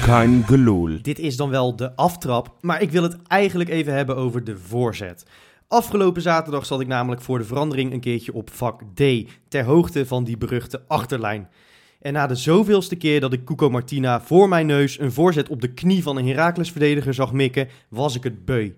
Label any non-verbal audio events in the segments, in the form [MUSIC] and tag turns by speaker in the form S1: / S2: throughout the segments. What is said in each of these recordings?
S1: Kein geloel.
S2: Dit is dan wel de aftrap, maar ik wil het eigenlijk even hebben over de voorzet. Afgelopen zaterdag zat ik namelijk voor de verandering een keertje op vak D, ter hoogte van die beruchte achterlijn. En na de zoveelste keer dat ik Cuco Martina voor mijn neus een voorzet op de knie van een Heracles-verdediger zag mikken, was ik het beu.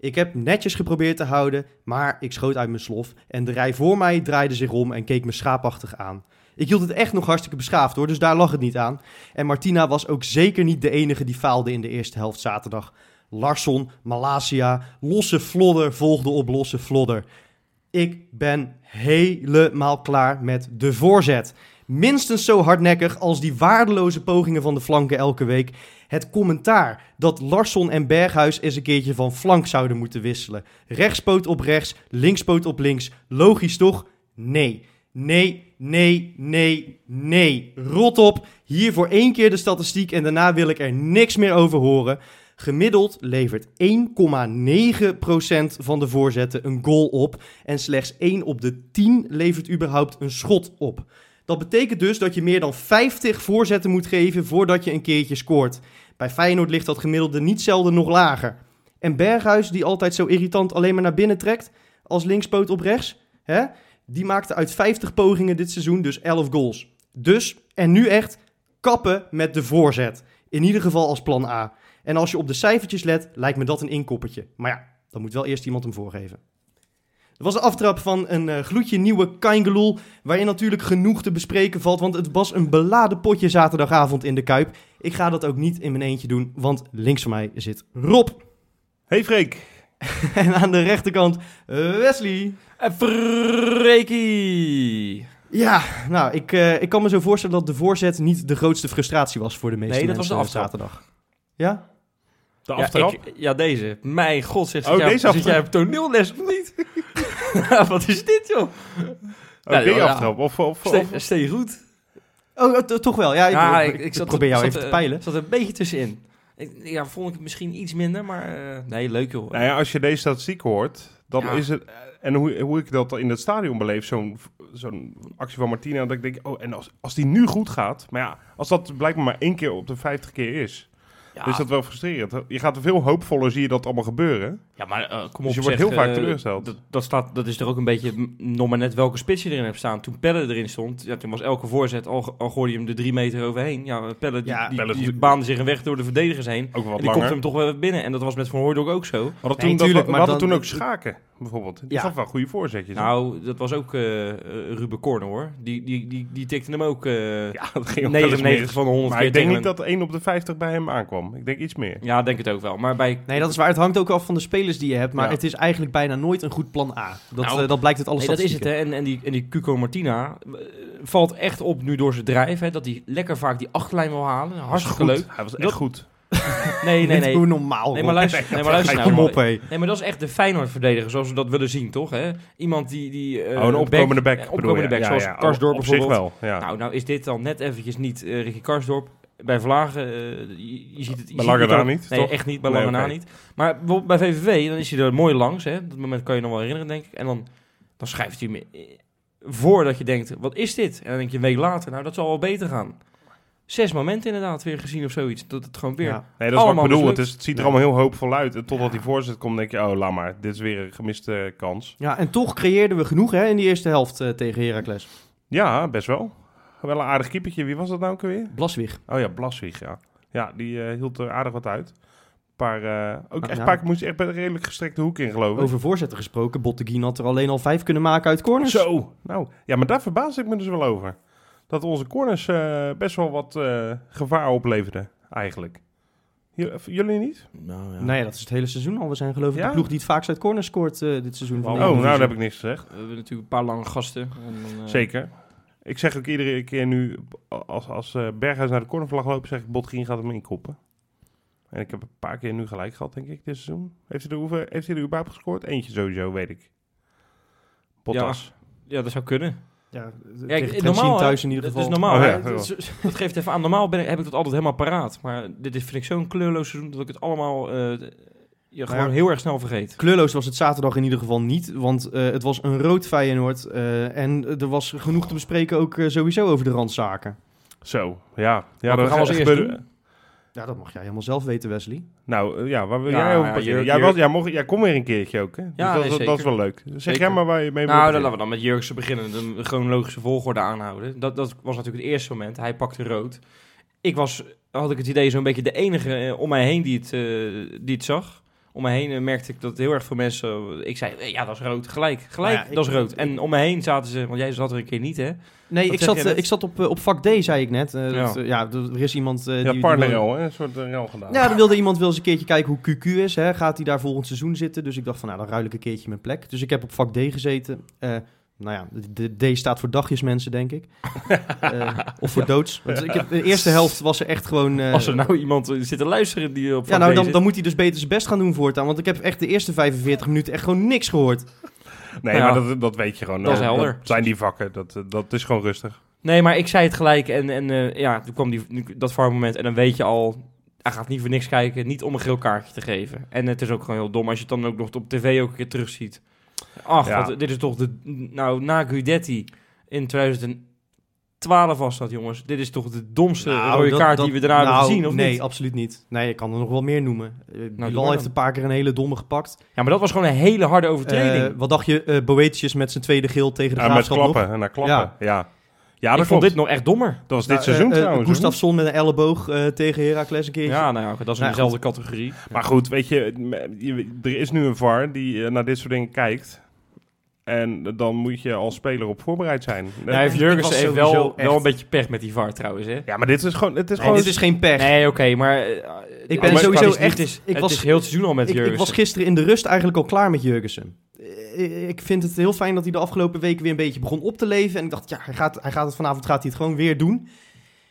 S2: Ik heb netjes geprobeerd te houden, maar ik schoot uit mijn slof en de rij voor mij draaide zich om en keek me schaapachtig aan. Ik hield het echt nog hartstikke beschaafd hoor, dus daar lag het niet aan. En Martina was ook zeker niet de enige die faalde in de eerste helft zaterdag. Larsson, Malasia, losse flodder volgde op losse flodder. Ik ben helemaal klaar met de voorzet. Minstens zo hardnekkig als die waardeloze pogingen van de flanken elke week. Het commentaar dat Larsson en Berghuis eens een keertje van flank zouden moeten wisselen. Rechtspoot op rechts, linkspoot op links. Logisch toch? Nee. Nee, nee, nee, nee. Rot op. Hier voor één keer de statistiek en daarna wil ik er niks meer over horen. Gemiddeld levert 1,9% van de voorzetten een goal op. En slechts 1 op de 10 levert überhaupt een schot op. Dat betekent dus dat je meer dan 50 voorzetten moet geven voordat je een keertje scoort. Bij Feyenoord ligt dat gemiddelde niet zelden nog lager. En Berghuis, die altijd zo irritant alleen maar naar binnen trekt, als linkspoot op rechts, hè? die maakte uit 50 pogingen dit seizoen dus 11 goals. Dus, en nu echt, kappen met de voorzet. In ieder geval als plan A. En als je op de cijfertjes let, lijkt me dat een inkoppertje. Maar ja, dan moet wel eerst iemand hem voorgeven. Er was de aftrap van een eh, gloedje nieuwe Kaingeloel, waarin natuurlijk genoeg te bespreken valt, want het was een beladen potje zaterdagavond in de Kuip. Ik ga dat ook niet in mijn eentje doen, want links van mij zit Rob. [LAUGHS]
S1: Hey Freek.
S2: En aan de rechterkant Wesley.
S3: En Freekie!
S2: Ja, nou, ik, eh, ik kan me zo voorstellen dat de voorzet niet de grootste frustratie was voor de meeste
S3: Nee, dat was
S2: mensen eh,
S3: de aftrap.
S2: zaterdag. Ja?
S1: De
S3: Ja,
S1: aftrap.
S3: ik- ja, deze. Mijn god, zegt
S1: Oh,
S3: jij,
S1: deze
S3: zit
S1: aftrap.
S3: jij op toneelles of niet? [LAUGHS] Wat is dit, joh?
S1: Oké,
S3: Nou, ja.
S1: Eh, aftrap. Of, of, of-
S3: Ste- Steeg goed.
S2: Oh, eh, t- toch wel. Ja, ik,
S3: Ja,
S2: ik- ik probeer jou
S3: zat,
S2: even te
S3: eh,
S2: peilen.
S3: zat een beetje tussenin. Ik, ja, vond ik het misschien iets minder, maar... eh, nee, leuk, joh.
S1: Nou ja, als je deze statistiek hoort, dan
S3: Ja.
S1: is het... eh, En hoe, hoe ik dat in het stadion beleef, zo'n zo'n actie van Martina, dat ik denk, oh, en als, als die nu goed gaat... Maar ja, als dat blijkbaar maar één keer op de 50 keer is,
S3: ja,
S1: dan is dus dat wel frustrerend. Je gaat er veel hoopvoller, zie je dat allemaal gebeuren.
S3: ja, maar eh, kom op,
S1: Dus je wordt
S3: zeg,
S1: heel vaak
S3: eh,
S1: teleurgesteld.
S3: Dat, dat, staat, dat is er ook een beetje, m, nog maar net welke spits je erin hebt staan. Toen Pelle erin stond, ja, toen was elke voorzet, al, ge- al gooide je hem er drie meter overheen. Ja, Pelle, die,
S2: Ja,
S3: die,
S1: Pelle-
S3: die baande zich een weg door de verdedigers heen.
S1: Ook wel
S3: En
S1: wat
S3: die komt
S1: langer.
S3: hem toch wel binnen. En dat was met Van Hooydonk ook zo.
S1: We hadden,
S2: Nee,
S1: toen,
S2: tuurlijk,
S1: dat, we
S2: maar
S1: hadden
S2: dan-
S1: toen ook Schaken, bijvoorbeeld. Die
S2: Ja.
S1: gaf wel goede voorzetjes. hè?
S3: Nou, dat was ook eh eh, Ruben Corner hoor. Die, die, die, die tikte hem ook
S1: [LAUGHS]
S3: eh
S1: ja, dat ging ook wel eens
S3: 99
S1: mis.
S3: van de 100
S1: Maar
S3: keer
S1: ik denk
S3: tegen
S1: niet
S3: een-
S1: dat 1 op de 50 bij hem aankwam. Ik denk iets meer.
S3: Ja, denk het ook wel. Maar bij...
S2: Nee, dat is waar. Het hangt ook af van de spelers die je hebt. Maar
S1: Ja.
S2: het is eigenlijk bijna nooit een goed plan A. Dat,
S3: Nou,
S2: eh, dat blijkt uit alle
S3: Nee, dat is het
S2: statistieken.
S3: hè. En, en, die, en die Cuco Martina eh, valt echt op nu door zijn drijf. Hè, dat hij lekker vaak die achterlijn wil halen. Hartstikke
S1: Goed.
S3: leuk.
S1: Hij was echt
S3: Dat-
S1: goed.
S3: Nee,
S1: [LAUGHS]
S3: nee, nee.
S2: Hoe normaal,
S3: Nee, maar
S2: Rob.
S3: luister, nee, maar luister nou.
S2: Kom op, hé.
S3: Nee, maar dat is echt de Feyenoord-verdediger zoals we dat willen zien, toch? Hè? Iemand die... die eh,
S1: oh, een opkomende back.
S3: eh,
S1: bedoel
S3: opkomende
S1: je.
S3: back,
S1: Ja,
S3: zoals
S1: ja.
S3: Karsdorp
S1: Op
S3: bijvoorbeeld.
S1: zich wel, ja.
S3: Nou, nou is dit dan net eventjes niet eh Ricky Karsdorp. Bij Vlagen, eh, je, je ziet het...
S1: Bij
S3: je ziet-
S1: lange
S3: je kan
S1: na
S3: het-
S1: niet,
S3: Nee,
S1: toch?
S3: echt niet, bij
S1: Nee,
S3: lange na
S1: oké.
S3: niet. Maar bijvoorbeeld bij VVV, dan is hij er mooi langs. Hè? Dat moment kan je nog wel herinneren, denk ik. En dan, dan schrijft hij me voordat je denkt, wat is dit? En dan denk je een week later, nou, dat zal wel beter gaan. Zes momenten inderdaad weer gezien of zoiets. Dat het gewoon weer...
S2: Ja.
S1: Nee, dat is wat
S3: Allemaal
S1: ik bedoel. Het,
S3: mislukt.
S1: is, het ziet er
S2: Ja.
S1: allemaal heel hoopvol uit. En totdat die voorzet komt, denk je, oh, laat maar. Dit is weer een gemiste eh, kans.
S2: Ja, en toch creëerden we genoeg hè, in die eerste helft eh, tegen Heracles.
S1: Ja, best wel. Wel een aardig keepertje. Wie was dat nou ook alweer?
S2: Blaswig.
S1: Oh ja, Blaswig, ja. Ja, die eh, hield er aardig wat uit. Een Paar, eh, ook
S2: Ah,
S1: echt
S2: ja.
S1: paar keer moest hij echt bij een redelijk gestrekte hoek in, geloof ik.
S2: Over voorzetten gesproken. Botteguin had er alleen al vijf kunnen maken uit corners.
S1: Zo. Nou, ja, maar daar verbaas ik me dus wel over. Dat onze corners eh, best wel wat eh, gevaar opleverden, eigenlijk. J- jullie niet?
S3: Nou, ja.
S2: Nee, dat is het hele seizoen al. We zijn geloof ik
S1: Ja?
S2: de ploeg die het vaakst uit corners scoort eh, dit seizoen. Van
S1: Oh,
S2: de
S1: nou,
S2: Eredivisie.
S1: daar heb ik niks gezegd.
S3: We hebben natuurlijk een paar lange gasten. En dan, eh,
S1: Zeker. Ik zeg ook iedere keer nu, als, als eh, Berghuis naar de cornervlag loopt, zeg ik, Botgien gaat hem inkoppen. En ik heb een paar keer nu gelijk gehad, denk ik, dit seizoen. Heeft hij er, hoeveel, heeft hij er überhaupt gescoord? Eentje sowieso, weet ik. Bottas.
S3: Ja, dat zou kunnen.
S2: Ja, tegen
S3: Ja, ik-
S2: Trentin
S3: normaal, hè?
S2: thuis in ieder
S3: Dat
S2: geval.
S3: is normaal.
S1: Oh,
S3: hè?
S1: ja,
S3: dat, is- dat geeft even aan. Normaal ben ik, heb ik dat altijd helemaal paraat. Maar dit is, vind ik zo'n kleurloos seizoen dat ik het allemaal eh, ja, gewoon
S2: ja.
S3: heel erg snel vergeet.
S2: Kleurloos was het zaterdag in ieder geval niet, want eh, het was een rood Feyenoord. eh, en eh, er was genoeg te bespreken ook eh, sowieso over de randzaken.
S1: Zo, ja. ja
S3: Wat we
S1: dat
S3: gaan als
S1: ge-
S3: eerst
S1: gebeurde-
S3: doen?
S2: Ja, dat mag jij helemaal zelf weten, Wesley.
S1: Nou, eh, ja, waar wil
S3: Ja,
S1: jij over
S3: ja,
S1: beginnen?
S3: Jurk-
S1: jij,
S3: Jurk-
S1: was, jij, mocht, jij kon weer een keertje ook, hè? Dus
S3: Ja,
S1: dat,
S3: nee,
S1: dat- dat is
S3: zeker.
S1: wel leuk. Zeg jij
S3: Zeker.
S1: maar waar je mee wil
S3: nou,
S1: beginnen.
S3: dan laten we dan met Jurksen beginnen. De chronologische volgorde aanhouden. Dat, dat was natuurlijk het eerste moment. Hij pakte rood. Ik was, had ik het idee, zo'n beetje de enige eh, om mij heen die het, eh, die het zag. Om mij heen eh, merkte ik dat heel erg veel mensen... eh, ik zei, eh, ja, dat is rood. Gelijk, gelijk,
S2: Maar ja, ik-
S3: dat is rood. En om me heen zaten ze... Want jij zat er een keer niet, hè?
S2: Nee,
S3: Wat
S2: ik
S3: zeg
S2: zat,
S3: jij
S2: eh,
S3: net?
S2: ik zat op, eh, op vak D, zei ik net. Eh,
S3: Ja.
S2: dat, eh, ja, d- er is iemand... eh,
S1: Ja,
S2: die, die wil-
S1: partnerrel, hè? Een soort eh, rel gedaan.
S2: Ja, dan wilde iemand wel eens een keertje kijken hoe QQ is. Hè. Gaat hij daar volgend seizoen zitten? Dus ik dacht van, nou, dan ruil ik een keertje mijn plek. Dus ik heb op vak D gezeten. Eh, nou ja, de de D staat voor dagjes mensen, denk
S3: [LAUGHS]
S2: ik. Eh, of voor doods. Want ik heb, de eerste helft was er echt gewoon... eh,
S3: Als er nou iemand eh, zit te luisteren die op
S2: ja,
S3: van
S2: nou,
S3: deze-
S2: dan, dan moet hij dus beter zijn best gaan doen voortaan. Want ik heb echt de eerste 45 minuten echt gewoon niks gehoord.
S1: Nee,
S3: Nou ja,
S1: maar dat, dat weet je gewoon.
S3: dat is helder.
S1: zijn die vakken, dat, eh, dat is gewoon rustig.
S3: Nee, maar ik zei het gelijk en, en eh, ja, toen kwam die, dat moment en dan weet je al, hij gaat niet voor niks kijken, niet om een geel kaartje te geven. En het is ook gewoon heel dom als je het dan ook nog op tv ook een keer terugziet. Ach,
S1: Ja.
S3: wat- dit is toch de, nou, na Guidetti in 2012 was dat, jongens. Dit is toch de domste
S2: Nou,
S3: Dus, eh, rode
S2: dat-
S3: kaart
S2: dat-
S3: die we daarna
S2: nou,
S3: hebben gezien, of
S2: nee,
S3: niet? Nou,
S2: absoluut niet. Nee, ik kan er nog wel meer noemen. Eh,
S3: doe
S2: Bilal
S3: maar
S2: heeft
S3: dan.
S2: een paar keer een hele domme gepakt.
S3: Ja, maar dat was gewoon een hele harde overtreding.
S2: Eh, wat dacht je? eh Boetius met zijn tweede geel tegen de
S1: En Ah, met
S2: graafschap nog.
S1: klappen, en naar klappen. Ja,
S2: Ja.
S1: ja.
S3: ik
S1: dat
S3: vond
S1: klopt.
S3: dit nog echt dommer.
S1: Dat was
S2: Nou,
S1: dit seizoen
S2: eh, eh,
S1: trouwens. hoor.
S2: Gustafsson met een elleboog eh, tegen Heracles een keertje.
S3: Ja, nou ja, dat is in
S2: Nou,
S3: dezelfde categorie.
S1: Maar goed, weet je, je- er is nu een VAR die eh, naar dit soort dingen kijkt. En dan moet je als speler op voorbereid zijn.
S3: Ja, heeft
S2: ik
S3: Jurgensen
S2: was
S3: heeft
S2: sowieso
S3: wel,
S2: echt-
S3: wel een beetje pech met die VAR trouwens, hè?
S1: Ja, maar dit is gewoon... Het is
S2: Nee,
S1: gewoon
S2: dit is geen pech.
S3: Nee, oké, maar... eh,
S2: ben
S3: het is
S1: sowieso
S3: kwalitatief-
S2: echt-
S3: Het is,
S2: ik
S3: het
S2: was-
S3: is heel het seizoen al met
S2: ik, ik
S3: Jurgensen.
S2: was gisteren in de rust eigenlijk al klaar met Jurgensen. Eh, Ik vind het heel fijn dat hij de afgelopen weken weer een beetje begon op te leven. En ik dacht, ja, hij gaat, hij gaat het vanavond gaat hij het gewoon weer doen.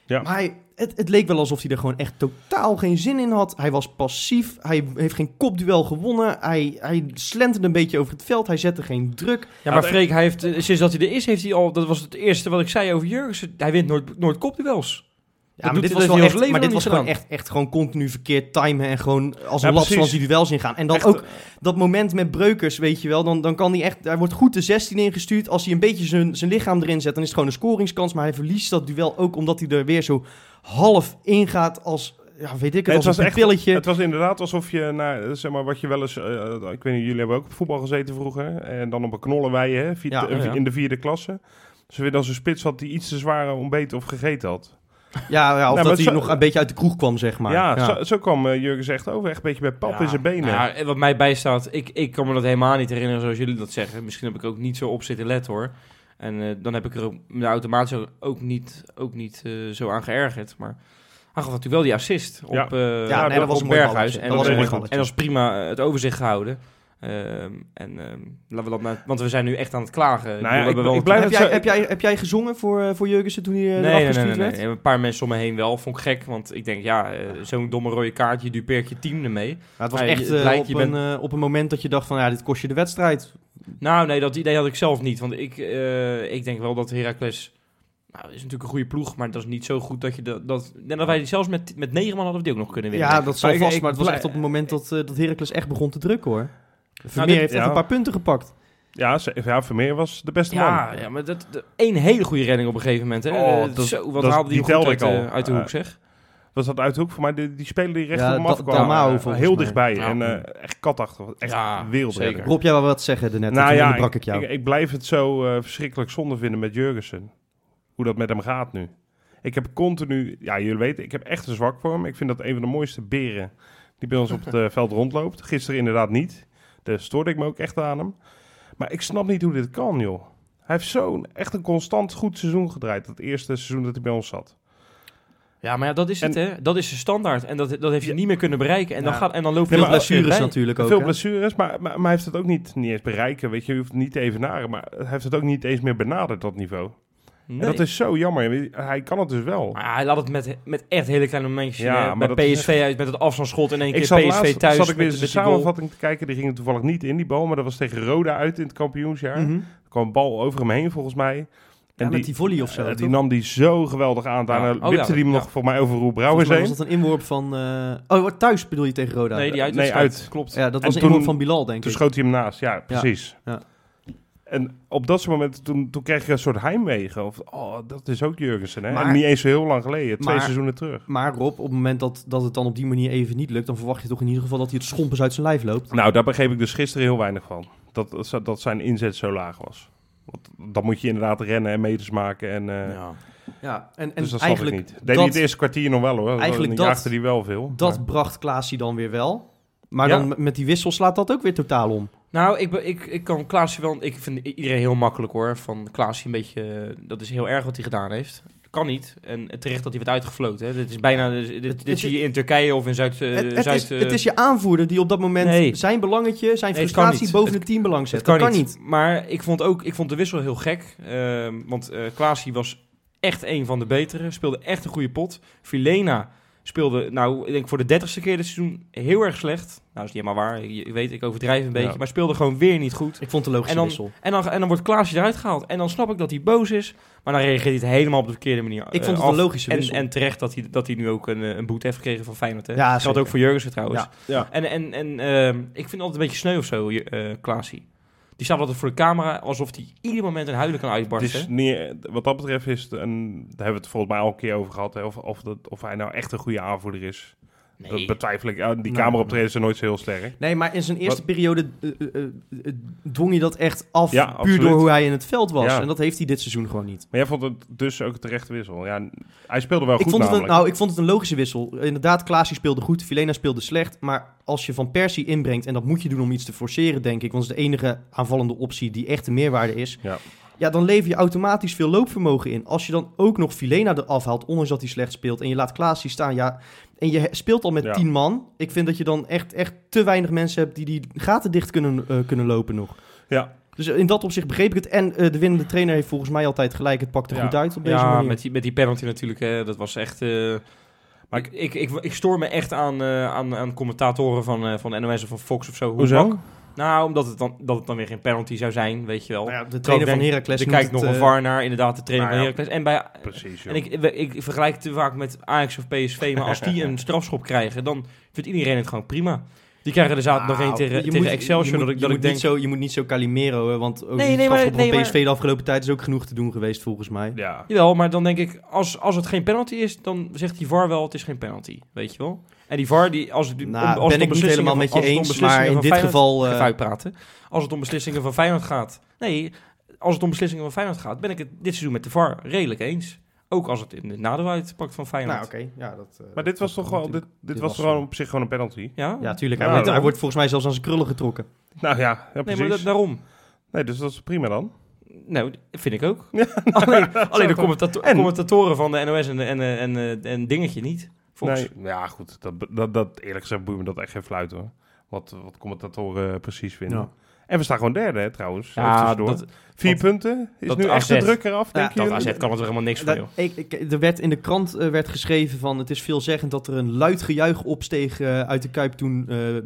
S1: Ja.
S2: Maar hij- het, het leek wel alsof hij er gewoon echt totaal geen zin in had. Hij was passief. Hij heeft geen kopduel gewonnen. Hij, hij slenterde een beetje over het veld. Hij zette geen druk.
S3: Ja, maar Freek, hij heeft, eh, sinds dat hij er is, heeft hij al... Dat was het eerste wat ik zei over Jurgensen. Hij wint nooit, nooit kopduels.
S2: Ja,
S3: doet
S2: maar dit
S3: hij
S2: was,
S3: dus
S2: wel
S3: heel
S2: echt,
S3: zijn leven
S2: maar dit
S3: nog
S2: was
S3: niet
S2: gewoon echt, echt gewoon continu verkeerd timen. En gewoon als een
S1: Ja,
S2: ja,
S1: precies.
S2: die duels ingaan. En dan
S1: echt-
S2: ook dat moment met Breukers, weet je wel, dan, dan kan hij echt, hij wordt goed de 16 ingestuurd. Als hij een beetje zijn, zijn lichaam erin zet, dan is het gewoon een scoringskans. Maar hij verliest dat duel ook omdat hij er weer zo half ingaat als, ja, weet ik het,
S1: Nee, het
S2: als
S1: was
S2: een
S1: echt-
S2: pilletje.
S1: Het was inderdaad alsof je naar, zeg maar, wat je wel eens, eh, ik weet niet, jullie hebben ook op voetbal gezeten vroeger. En dan op een knollenwei, hè, vier-
S2: Ja,
S1: eh,
S3: ja.
S1: in de vierde klasse. Dus weer dan zo'n spits had die iets te zware ontbeten of gegeten had.
S2: Ja, ja, of
S1: maar
S2: dat
S1: het
S2: hij
S1: zo-
S2: nog een beetje uit de kroeg kwam, zeg maar.
S1: ja, Zo, zo kwam eh, Jurgen echt over, echt een beetje bij pap in zijn benen.
S3: Nou, en wat mij bijstaat, ik, ik kan me dat helemaal niet herinneren zoals jullie dat zeggen. Misschien heb ik ook niet zo op zitten letten, hoor. En eh, dan heb ik er ook, me daar automatisch ook- ook niet, ook niet eh, zo aan geërgerd. Maar hij gaf natuurlijk wel die assist op,
S1: Ja.
S3: eh,
S2: nee,
S3: op
S2: dat was een mooi
S3: Berghuis.
S2: balletje.
S3: En
S2: Dat was
S1: een mooi
S3: eh,
S2: balletje.
S3: en dat is prima eh, het overzicht gehouden. Ehm, en ehm, laten we dat maar- want we zijn nu echt aan het klagen. Ik bedoel,
S1: Nou ja,
S3: we
S1: ik-
S3: hebben wel
S1: ik
S3: een-
S1: blijf
S2: Heb,
S1: het
S2: jij,
S1: zo-
S2: heb, jij, heb jij gezongen voor, eh, voor Jurgensen toen hij eh, eraf
S3: Nee, nee, nee,
S2: gestuurd
S3: nee,
S2: werd?
S3: nee. Een paar mensen om me heen wel. Vond ik gek, want ik denk, ja, eh, zo'n domme rode kaart, je dupeert je team ermee.
S2: Nou, het was
S3: Nee,
S2: echt
S3: het
S2: eh,
S3: lijkt,
S2: op,
S3: je
S2: een, eh, op een moment dat je dacht van, ja, dit kost je de wedstrijd.
S3: Nou, nee, dat idee had ik zelf niet. Want ik, eh, ik denk wel dat Heracles... Nou, is natuurlijk een goede ploeg, maar dat is niet zo goed dat je dat... dat en dat wij die zelfs met, met negen man hadden we die ook nog kunnen winnen.
S2: Ja, dat zal
S1: Maar ik-
S2: vast,
S1: ik
S2: maar het was
S1: blij-
S2: echt op het moment dat, eh, dat Heracles echt begon te drukken, hoor. Vermeer
S3: Nou, dit-
S2: heeft echt
S1: ja.
S2: een paar punten gepakt.
S1: Ja, ze- ja, Vermeer was de beste
S3: ja,
S1: man.
S3: ja, maar dat, dat- één hele goede redding op een gegeven moment. Hè.
S1: Oh,
S3: Eh,
S1: dat-
S3: zo,
S1: dat-
S3: wat haalde die,
S1: die
S3: goed
S1: telde
S3: uit,
S1: ik al.
S3: eh, uit de hoek,
S1: Eh,
S3: zeg.
S1: Was dat uit de hoek voor mij? Die, die speler die recht
S2: Ja,
S1: op hem
S2: Da-
S1: afkwam.
S2: Dalmau,
S1: eh,
S2: volgens
S1: heel
S2: mij.
S1: dichtbij
S3: Ja.
S1: en eh, echt katachtig. Echt
S3: Ja,
S1: wereldredder.
S3: zeker.
S2: Rob, jij wou wat zeggen daarnet,
S1: Nou
S2: toen
S1: ja,
S2: onderbrak ik
S1: ik,
S2: jou.
S1: ik, ik blijf het zo eh, verschrikkelijk zonde vinden met Jurgensen. Hoe dat met hem gaat nu. Ik heb continu, ja jullie weten, ik heb echt een zwak voor hem. Ik vind dat een van de mooiste beren die bij ons op het
S2: [LAUGHS]
S1: eh, veld rondloopt. Gisteren inderdaad niet. Daar stoorde ik me ook echt aan hem. Maar ik snap niet hoe dit kan, joh. Hij heeft zo'n echt een constant goed seizoen gedraaid. Dat eerste seizoen dat hij bij ons zat.
S3: Ja, maar ja, dat is het,
S1: en-
S3: hè. Dat is de standaard. En dat, dat heeft hij
S1: Ja.
S3: niet meer kunnen bereiken. En, dan,
S2: Ja.
S3: gaat, en dan loopt
S2: Veel
S3: hij
S2: blessures natuurlijk ook.
S1: Veel
S2: hè?
S1: blessures, maar, maar, maar hij heeft het ook niet, niet eens bereiken. Weet je, je hoeft het niet te evenaren. Maar hij heeft het ook niet eens meer benaderd, dat niveau. En dat is zo jammer. Hij kan het dus wel.
S3: Maar hij laat het met, met echt hele kleine momentjes.
S1: Ja,
S3: Ja,
S1: maar
S3: met
S1: dat is
S3: PSV uit, met het afstandsschot in één
S1: Ik
S3: keer
S1: zat
S3: PSV
S1: laatst
S3: thuis.
S1: zat ik weer eens een
S3: met, met die goal.
S1: samenvatting te kijken. Die ging toevallig niet in die bal, maar dat was tegen Roda uit in het kampioensjaar.
S2: Mhm.
S1: Er kwam een bal over hem heen volgens mij.
S2: Ja, met die nou volley of zo,
S1: eh, die
S2: toch?
S1: nam die zo geweldig aan. Daarna
S3: Ja.
S1: wipte
S3: Oh, ja,
S1: die hem
S3: ja.
S1: nog voor mij over Roel Brouwers
S2: Volgens mij was
S1: heen.
S2: dat een inworp van... eh, Oh, wat thuis bedoel je tegen Roda?
S3: Nee, die uit.
S1: Nee, uit.
S3: Klopt.
S2: Ja, dat
S1: En
S2: was een
S1: toen-
S2: inworp van Bilal, denk
S1: Toen
S2: ik.
S1: schoot hij hem naast. Ja, precies.
S2: ja.
S1: En op dat soort moment, toen, toen kreeg je een soort heimwegen. Of, oh, dat is ook Jurgensen, hè?
S2: Maar-
S1: en niet eens zo heel lang geleden, twee
S2: maar-
S1: seizoenen terug.
S2: Maar Rob, op het moment dat, dat het dan op die manier even niet lukt, dan verwacht je toch in ieder geval dat hij het schompers uit zijn lijf loopt.
S1: Nou, daar begreep ik dus gisteren heel weinig van. Dat, dat zijn inzet zo laag was. Want dan moet je inderdaad rennen en meters maken. En, eh,
S3: ja.
S2: Ja, en, en
S1: dus dat snap ik
S2: eigenlijk,
S1: niet. Deed hij
S2: dat-
S1: het eerste kwartier nog wel hoor.
S2: eigenlijk
S1: dan
S2: dat-
S1: jaagde hij wel veel.
S2: dat
S1: maar-
S2: bracht Klaasie dan weer wel. Maar
S1: Ja.
S2: dan met- met die wissel slaat dat ook weer totaal om.
S3: Nou, ik, be- ik, ik kan Klaasje wel... Ik vind i- iedereen heel makkelijk hoor. Van Klaasje een beetje... eh, Dat is heel erg wat hij gedaan heeft. Kan niet. En eh, terecht dat hij werd uitgefloten. Hè. Dit is bijna... Dit, dit,
S2: Het-
S3: dit
S2: het-
S3: zie je in Turkije of in Zuid... eh,
S2: het, het
S3: Zuid
S2: is,
S3: eh,
S2: het is je aanvoerder die op dat moment
S3: Nee.
S2: zijn belangetje, zijn
S3: Nee, het kan
S2: frustratie
S3: niet.
S2: boven
S3: Het-
S2: het teambelang
S3: Het
S2: zet.
S3: kan, niet. Maar ik vond ook, ik vond de wissel heel gek. Ehm, want eh Klaasie was echt een van de betere. Speelde echt een goede pot. Vilena speelde, nou, ik denk voor de dertigste keer dit seizoen heel erg slecht. Nou, is niet helemaal waar. Je, ik weet, ik overdrijf een beetje.
S1: Ja.
S3: Maar speelde gewoon weer niet goed.
S2: Ik vond de logische
S3: En dan-
S2: wissel.
S3: En dan, en dan wordt Klaasje eruit gehaald. En dan snap ik dat hij boos is. Maar dan reageert hij het helemaal op de verkeerde manier.
S2: Ik
S3: eh,
S2: vond het
S3: af.
S2: een logische
S3: en,
S2: wissel.
S3: en terecht dat hij, dat hij nu ook een, eh, een boete heeft gekregen van Feyenoord. Hè?
S2: Ja,
S3: dat geldt
S2: zeker.
S3: ook voor Jurgensen trouwens.
S2: Ja.
S1: Ja.
S3: En, en, en ehm, ik vind het altijd een beetje sneu of zo, je- eh Klaasie. Die staat altijd voor de camera alsof hij ieder moment een huilen kan
S1: Het
S3: uitbarsten.
S1: is niet, wat dat betreft is het een, daar hebben we het volgens mij al een keer over gehad. Hè, of, of, dat, of hij nou echt een goede aanvoerder is. Dat
S3: nee.
S1: betwijfel ik. Ja, die
S2: Nee.
S1: cameraoptredens zijn nooit zo heel sterk.
S2: Nee, maar in zijn eerste periode eh, eh, eh, dwong je dat echt af,
S1: Ja,
S2: puur
S1: absoluut.
S2: door hoe hij in het veld was.
S1: Ja.
S2: En dat heeft hij dit seizoen gewoon niet.
S1: Maar jij vond het dus ook een terechte wissel. Ja, n- hij speelde wel
S2: Ik
S1: goed
S2: vond, het een,
S1: namelijk.
S2: nou, ik vond het een logische wissel. Inderdaad, Klaasie speelde goed, Filena speelde slecht. Maar als je Van Persie inbrengt, en dat moet je doen om iets te forceren, denk ik. Want dat is de enige aanvallende optie die echt de meerwaarde is.
S1: Ja.
S2: ja, dan lever je automatisch veel loopvermogen in. Als je dan ook nog Filena eraf haalt, ondanks dat hij slecht speelt. En je laat Klaasie staan, ja. En je he- speelt al met
S1: Ja.
S2: tien man. Ik vind dat je dan echt, echt te weinig mensen hebt die die gaten dicht kunnen, eh, kunnen lopen nog.
S1: Ja.
S2: Dus in dat opzicht begreep ik het. En eh, de winnende trainer heeft volgens mij altijd gelijk. Het pakt er
S1: Ja.
S2: goed uit op deze
S3: Ja,
S2: manier.
S3: met die, met die penalty natuurlijk. Hè, dat was echt... eh, maar ik, ik, ik, ik stoor me echt aan, eh, aan, aan commentatoren van, eh, van NOS of van Fox of zo. Hoe bak- Nou, omdat het, dan, dat het dan weer geen penalty zou zijn, weet je wel.
S2: Nou ja, de
S3: Terwijl ik
S2: trainer van
S3: denk,
S2: Heracles
S3: Er
S2: noemt
S3: kijkt
S2: het,
S3: nog een
S2: eh,
S3: VAR naar, inderdaad, de trainer
S1: nou
S3: van Heracles. En, bij,
S1: Precies, joh.
S3: En ik, ik vergelijk het te vaak met Ajax of PSV, maar als die een strafschop krijgen, dan vindt iedereen het gewoon prima. Die krijgen er zaterdag nog één
S2: Nou,
S3: tegen,
S2: je
S3: tegen
S2: moet- je
S3: Excelsior,
S2: moet-
S3: dat ik,
S2: je
S3: dat ik
S2: moet
S3: denk...
S2: Niet zo, je moet niet zo Calimero, hè, want ook
S3: Nee,
S2: die
S3: nee, maar-
S2: strafschop van
S3: nee, maar-
S2: PSV de afgelopen tijd is ook genoeg te doen geweest, volgens mij.
S1: Ja.
S3: Jawel, maar dan denk ik, als, als het geen penalty is, dan zegt die VAR wel, het is geen penalty, weet je wel. En die VAR, die, als, het- om-
S2: Nou,
S3: als
S2: ben
S3: het
S2: ik
S3: om
S2: niet
S3: beslissingen
S2: helemaal met
S3: van-
S2: je
S3: als het om
S2: eens,
S3: beslissingen
S2: maar in
S3: van
S2: dit
S3: Feyenoord-
S2: geval... eh,
S3: Even uitpraten. Als het om beslissingen van Feyenoord gaat... Nee, als het om beslissingen van Feyenoord gaat, ben ik het dit seizoen met de VAR redelijk eens. Ook als het in het nadeel uitpakt van Feyenoord.
S2: nou, oké. Ja, dat, eh,
S1: Maar
S2: dat-
S1: dit was
S2: dat
S1: toch
S2: kan
S1: wel, dit, dit,
S2: Dit
S1: was
S2: was
S1: toch gewoon
S2: zo.
S1: op zich gewoon een penalty.
S3: Ja?
S2: Ja, tuurlijk. Hij,
S1: Nou,
S2: wordt, hij
S1: dan-
S2: wordt volgens mij zelfs aan zijn krullen getrokken.
S1: Nou ja, ja
S3: nee,
S1: precies.
S3: maar dat, daarom.
S1: Nee, dus dat is prima dan.
S3: Nou, vind ik
S1: [LAUGHS]
S3: ook. alleen alleen de commentato-
S1: nou, En-
S3: commentatoren van de NOS en, en, en, en, en Dingetje niet. Volgens
S1: Nee, ja, goed. Dat, be- dat, dat, eerlijk gezegd boeit me dat echt geen fluit hoor. Wat, wat commentatoren eh, precies vinden.
S2: Ja.
S1: En we staan gewoon derde hè, trouwens.
S3: Ja,
S1: Ja,
S3: dat,
S1: Vier
S3: dat-
S1: punten. Is
S3: dat
S1: nu echt de
S3: AZ.
S1: druk eraf, denk
S3: dat
S1: je?
S3: AZ kan het er helemaal niks van,
S2: Dat-
S3: joh.
S2: ik, ik- er werd in de krant eh, werd geschreven van... Het is veelzeggend dat er een luid gejuich opsteeg eh, uit de Kuip... toen eh, eh,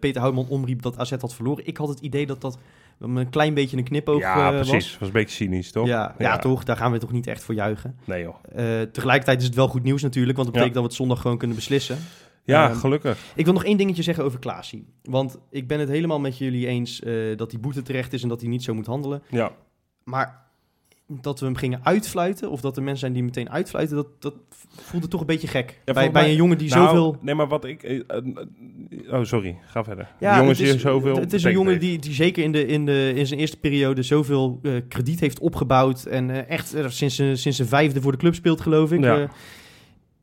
S2: Peter Houtman omriep dat AZ had verloren. Ik had het idee dat dat een klein beetje een knipoog
S1: ja,
S2: eh, was.
S1: precies. was een beetje cynisch, toch?
S2: Ja, ja, toch? Daar gaan we toch niet echt voor juichen.
S1: Nee joh.
S2: Eh, tegelijkertijd is het wel goed nieuws natuurlijk, want dat
S1: Ja.
S2: betekent dat we het zondag gewoon kunnen beslissen.
S1: Ja,
S2: Ehm,
S1: gelukkig.
S2: Ik wil nog één dingetje zeggen over Klaasie. Want ik ben het helemaal met jullie eens eh, dat die boete terecht is en dat hij niet zo moet handelen.
S1: Ja.
S2: Maar dat we hem gingen uitfluiten, of dat er mensen zijn die meteen uitfluiten, dat, dat voelde toch een beetje gek. bij,
S1: volgens
S2: bij
S1: mij-
S2: een jongen die
S1: Nou,
S2: zoveel...
S1: Nee, maar wat ik... eh, eh, oh, sorry. Ga verder.
S2: Ja,
S1: Ja, jongens
S2: het is-
S1: hier zoveel...
S2: Het is een
S1: betekent
S2: jongen
S1: heeft.
S2: die, die zeker in, de, in, de, in zijn eerste periode zoveel eh, krediet heeft opgebouwd. En eh, echt eh, sinds, zijn- sinds zijn vijfde voor de club speelt, geloof ik.
S1: Ja.
S2: Ja,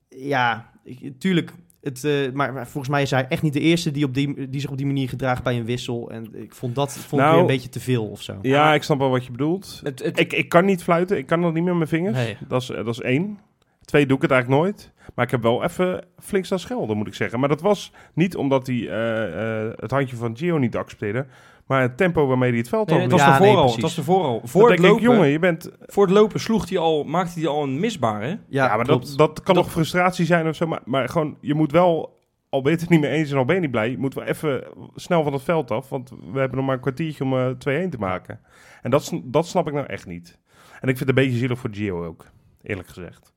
S2: ja ik- tuurlijk. Het, eh, maar, maar volgens mij is hij echt niet de eerste die, op die, die zich op die manier gedraagt bij een wissel. En ik vond dat vond ik
S1: Nou,
S2: weer een beetje te veel of zo.
S1: Ja, ik snap wel wat je bedoelt.
S3: Het, het,
S1: Ik, ik kan niet fluiten. Ik kan dat niet met mijn vingers.
S3: nee.
S1: Dat, is, eh, dat is één. Twee doe ik het eigenlijk nooit. Maar ik heb wel even flink staan schelden, moet ik zeggen. Maar dat was niet omdat hij eh, eh, het handje van Gio niet accepteerde. Maar het tempo waarmee hij het veld
S3: Nee,
S1: over.
S3: het
S1: overliep.
S3: was
S2: Ja, nee,
S3: ervoor al. Het
S2: precies.
S3: was ervoor al.
S1: Dat
S3: Voor het,
S1: denk ik,
S3: lopen,
S1: jongen, je bent...
S3: voor het lopen sloeg hij al, maakte hij al een misbare.
S1: Ja, maar dat,
S2: klopt.
S1: dat kan
S3: Dat-
S1: nog frustratie zijn of zo. Maar, maar gewoon, je moet wel... Al ben je het niet mee eens en al ben je niet blij... je moet wel even snel van het veld af. Want we hebben nog maar een kwartiertje om eh 2-1 te maken. En dat, sn- dat snap ik nou echt niet. En ik vind het een beetje zielig voor Gio ook. Eerlijk gezegd.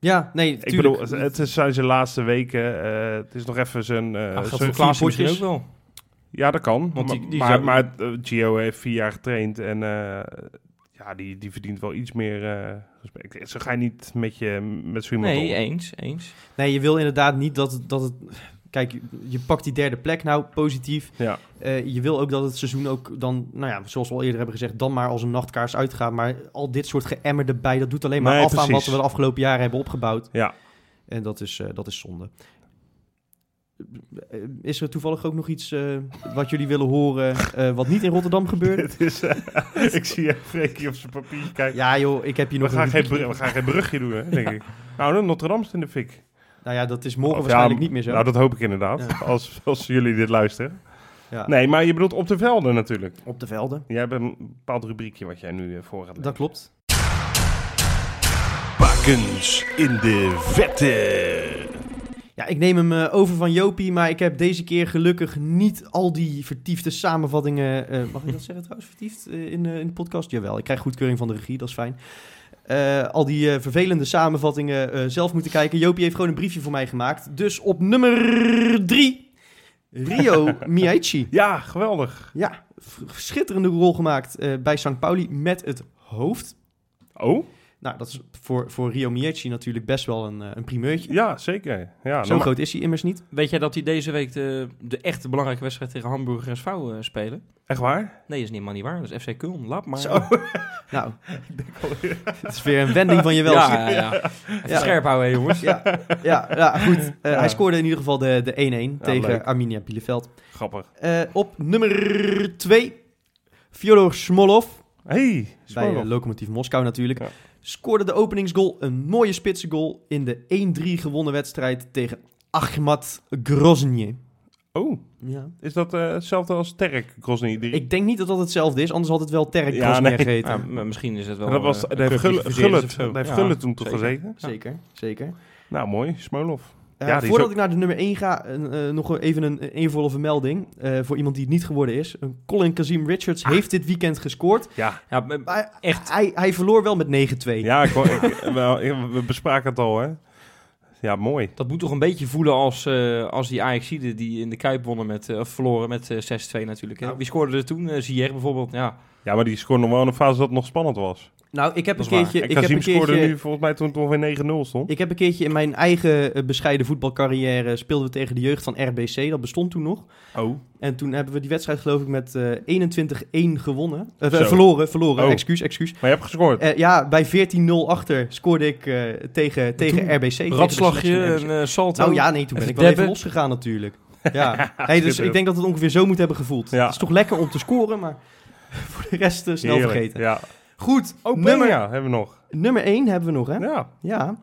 S2: Ja, nee,
S1: Ik
S2: tuurlijk.
S1: bedoel, het, het zijn zijn laatste weken. eh, het is nog even zijn. eh, zijn
S3: dat geldt voor
S1: vier
S3: Klaas
S1: potjes.
S3: misschien ook wel.
S1: Ja, dat kan.
S3: Want die-
S1: maar,
S3: die
S1: maar,
S3: zou-
S1: maar, eh, Gio heeft vier jaar getraind en eh, ja, die, die verdient wel iets meer eh, respect. Zo ga je niet met je met zo iemand
S3: Nee,
S1: om.
S3: eens, eens.
S2: Nee, je wil inderdaad niet dat, het- dat het... Kijk, je pakt die derde plek nou positief.
S1: Ja.
S2: Eh, je wil ook dat het seizoen ook dan, nou ja, zoals we al eerder hebben gezegd, dan maar als een nachtkaars uitgaat. Maar al dit soort geëmmer erbij, dat doet alleen maar
S1: Nee,
S2: af aan wat
S1: precies.
S2: we de afgelopen jaren hebben opgebouwd.
S1: Ja.
S2: En dat is, eh, dat is zonde. Eh, Is er toevallig ook nog iets eh, wat jullie willen horen, eh, wat niet in
S1: [LAUGHS]
S2: Rotterdam gebeurde?
S1: Het is, eh, [LAUGHS] ik zie Freekje op zijn papiertje kijken.
S2: Ja joh, ik heb hier
S1: we,
S2: nog
S1: gaan
S2: een-
S1: geen, br- we gaan geen brugje doen, hè, denk ik. Nou, dan Notre-Dame is in de fik.
S2: Nou ja, dat is morgen
S1: Of ja,
S2: waarschijnlijk niet meer zo.
S1: Nou, dat hoop ik inderdaad, als, als jullie dit luisteren.
S2: Ja.
S1: Nee, maar je bedoelt op de velden natuurlijk.
S2: Op de velden.
S1: Jij hebt een bepaald rubriekje wat jij nu eh, voor gaat
S2: Dat klopt.
S1: Bakens in de vette.
S2: Ja, ik neem hem eh, over van Jopie, maar ik heb deze keer gelukkig niet al die vertiefde samenvattingen. eh, mag ik dat zeggen trouwens? Vertiefd eh, in, eh, in de podcast? Jawel, ik krijg goedkeuring van de regie, dat is fijn. Eh, al die eh, vervelende samenvattingen eh, zelf moeten kijken. Jopie heeft gewoon een briefje voor mij gemaakt. Dus op nummer 3, Rio Miaichi.
S1: Ja, geweldig.
S2: Ja, v- schitterende rol gemaakt eh, bij St. Pauli met het hoofd.
S1: Oh,
S2: Nou, dat is voor, voor Rio Miaichi natuurlijk best wel een, eh, een primeurtje.
S1: ja, zeker. Ja,
S2: Zo
S1: nou,
S2: groot is hij immers niet.
S3: Weet jij dat die deze week de, de echte belangrijke wedstrijd tegen Hamburg SV eh, spelen?
S1: Echt waar?
S3: Nee, is niet helemaal niet waar. Dat is FC Köln. Laat maar.
S1: Zo. [LAUGHS]
S2: Nou, het is weer een wending van je wel.
S3: Ja, ja, ja. Even
S2: Ja.
S3: scherp houden, hè, jongens.
S2: Ja, ja, ja, goed. Eh,
S1: Ja.
S2: Hij scoorde in ieder geval de, de 1-1 tegen
S1: leuk.
S2: Arminia Bielefeld.
S1: Grappig.
S2: Eh, op nummer 2, Fyodor Smolov.
S1: Hey,
S2: Bij eh,
S1: Smolov.
S2: Lokomotief Moskou natuurlijk.
S1: Ja.
S2: Scoorde de openingsgoal, een mooie spitsengoal... in de 1-3 gewonnen wedstrijd tegen Ahmad Grozny.
S1: Oh,
S2: Ja.
S1: is dat eh, hetzelfde als Terk Grozny? Die-
S2: Ik denk niet dat dat hetzelfde is, anders had het wel Terek
S1: Ja,
S2: Grozny
S1: nee.
S2: geheten.
S3: Ja, m- misschien is het wel...
S1: dat was,
S3: eh, een
S1: daar heeft
S3: club die
S1: Gullit,
S3: gefuseerd is
S1: Gullit,
S3: of zo.
S1: daar heeft
S3: Ja,
S1: Gullit toen toch
S3: zeker.
S1: gezeten?
S2: Zeker, zeker.
S1: Nou, mooi. Smolov.
S2: Eh,
S1: Ja, die is
S2: voordat
S1: ook-
S2: ik naar de nummer 1 ga, eh, eh, nog even een een eervolle vermelding eh, voor iemand die het niet geworden is. Een Colin Kazim Richards
S1: Ah.
S2: heeft dit weekend gescoord.
S1: Ja,
S3: Ja, m-
S2: Maar
S3: Echt?
S2: Hij, hij verloor wel met 9-2.
S1: ja ik, wou- ik- [LAUGHS] wel, ik- we bespraken het al, hè. Ja, mooi.
S3: dat moet toch een beetje voelen als, eh, als die Ajaxide die in de Kuip wonnen met, eh, of verloren met eh, 6-2 natuurlijk. Hè?
S2: Nou.
S3: Wie scoorde er toen? Eh Zier bijvoorbeeld. Ja.
S1: Ja, maar die scoorde nog wel in een fase dat het nog spannend was.
S2: Nou, ik heb, een
S3: Dat is waar.
S2: keertje,
S1: en
S2: ik, heb
S1: Kazim
S2: een
S1: scoorde
S2: keertje,
S1: nu volgens mij toen het ongeveer 9-0 stond.
S2: ik heb een keertje in mijn eigen eh, bescheiden voetbalcarrière speelden we tegen de jeugd van RBC. Dat bestond toen nog.
S1: Oh.
S2: En toen hebben we die wedstrijd geloof ik met eh, 21-1 gewonnen. Eh,
S1: Zo.
S2: verloren, verloren.
S1: Oh.
S2: Excuus, excuus.
S1: Maar je hebt gescoord.
S2: Eh, ja, bij 14-0 achter scoorde ik eh, tegen, tegen
S3: toen
S2: RBC. tegen de selectie
S3: Radslagje,
S2: van RBC.
S3: een eh, salto.
S2: Nou ja, nee, toen ben
S3: Even
S2: ik wel even
S3: debben.
S2: losgegaan natuurlijk. Ja, nee, dus ik denk dat we het ongeveer zo moet hebben gevoeld.
S1: Ja.
S2: Het is toch lekker om te scoren, maar [LAUGHS] voor de rest eh, snel
S1: Heerlijk.
S2: vergeten.
S1: Ja.
S2: Goed,
S1: Oh,
S2: nummer,
S1: Peña hebben we nog.
S2: nummer 1 hebben we nog, hè? Ja.
S1: Ja.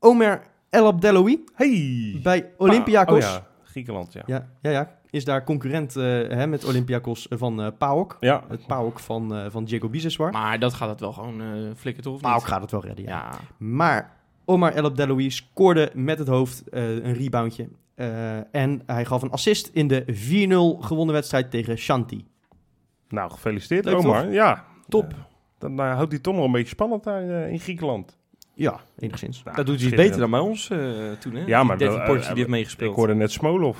S2: Omer El Abdeloui
S1: Hey.
S2: bij Olympiakos.
S1: Oh,
S2: ja.
S1: ja. Griekenland, ja.
S2: Ja, ja, is daar concurrent eh, hè, met Olympiakos van eh PAOK.
S1: Ja.
S2: Het PAOK van, eh van Diego Biseswar.
S3: Maar dat gaat het wel gewoon eh flikken, toch? of
S2: PAOK
S3: niet?
S2: gaat het wel redden, Nou, ja.
S3: Ja.
S2: Maar Omar El Abdeloui scoorde met het hoofd eh, een reboundje. Eh, en hij gaf een assist in de 4-0 gewonnen wedstrijd tegen Shanti.
S1: Nou, gefeliciteerd,
S2: Leuk,
S1: Omar. Ja.
S2: Top.
S1: Eh, dan eh, houdt die toch nog een beetje spannend daar eh, in Griekenland.
S2: Ja, enigszins.
S1: Nou,
S3: dat doet hij
S1: schitterend.
S3: beter dan bij ons eh, toen, hè?
S1: Ja, maar
S3: die
S1: wel,
S3: 13 potjes
S1: eh,
S3: die heeft
S1: Ik
S3: meegespeeld.
S1: hoorde net Smolov.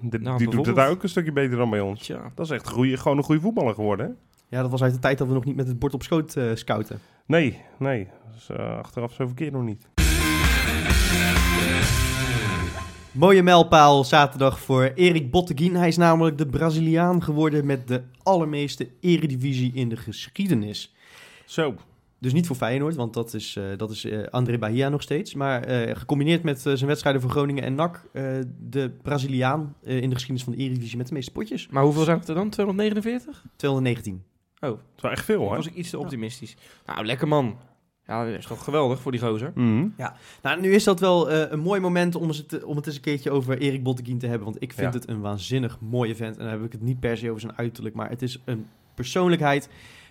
S1: De-
S3: Nou,
S1: die doet het
S3: bijvoorbeeld.
S1: daar ook een stukje beter dan bij ons.
S3: Tja.
S1: Dat is echt een goeie, gewoon een goede voetballer geworden. hè?
S2: Ja, dat was uit de tijd dat we nog niet met het bord op schoot eh, scouten.
S1: Nee, nee. Dat is, eh, achteraf zo verkeerd nog niet.
S2: Mooie mijlpaal zaterdag voor Erik Botteguin. Hij is namelijk de Braziliaan geworden met de allermeeste eredivisie in de geschiedenis.
S1: Zo.
S2: Dus niet voor Feyenoord, want dat is, eh, dat is eh, André Bahia nog steeds. Maar eh, gecombineerd met eh, zijn wedstrijden voor Groningen en NAC... eh, de Braziliaan eh, in de geschiedenis van de eredivisie met de meeste potjes.
S3: Maar hoeveel zijn het er dan? 249?
S2: 219.
S1: Dat is wel echt veel, hè?
S3: was ik iets te optimistisch. Nou, lekker man. Ja, dat is toch geweldig voor die gozer.
S1: Mhm.
S2: Nou, nu is dat wel eh, een mooi moment om, eens het, om het eens een keertje over Erik Botteguin te hebben. Want ik vind
S1: Ja.
S2: het een waanzinnig mooie vent. En dan heb ik het niet per se over zijn uiterlijk, maar het is een persoonlijkheid.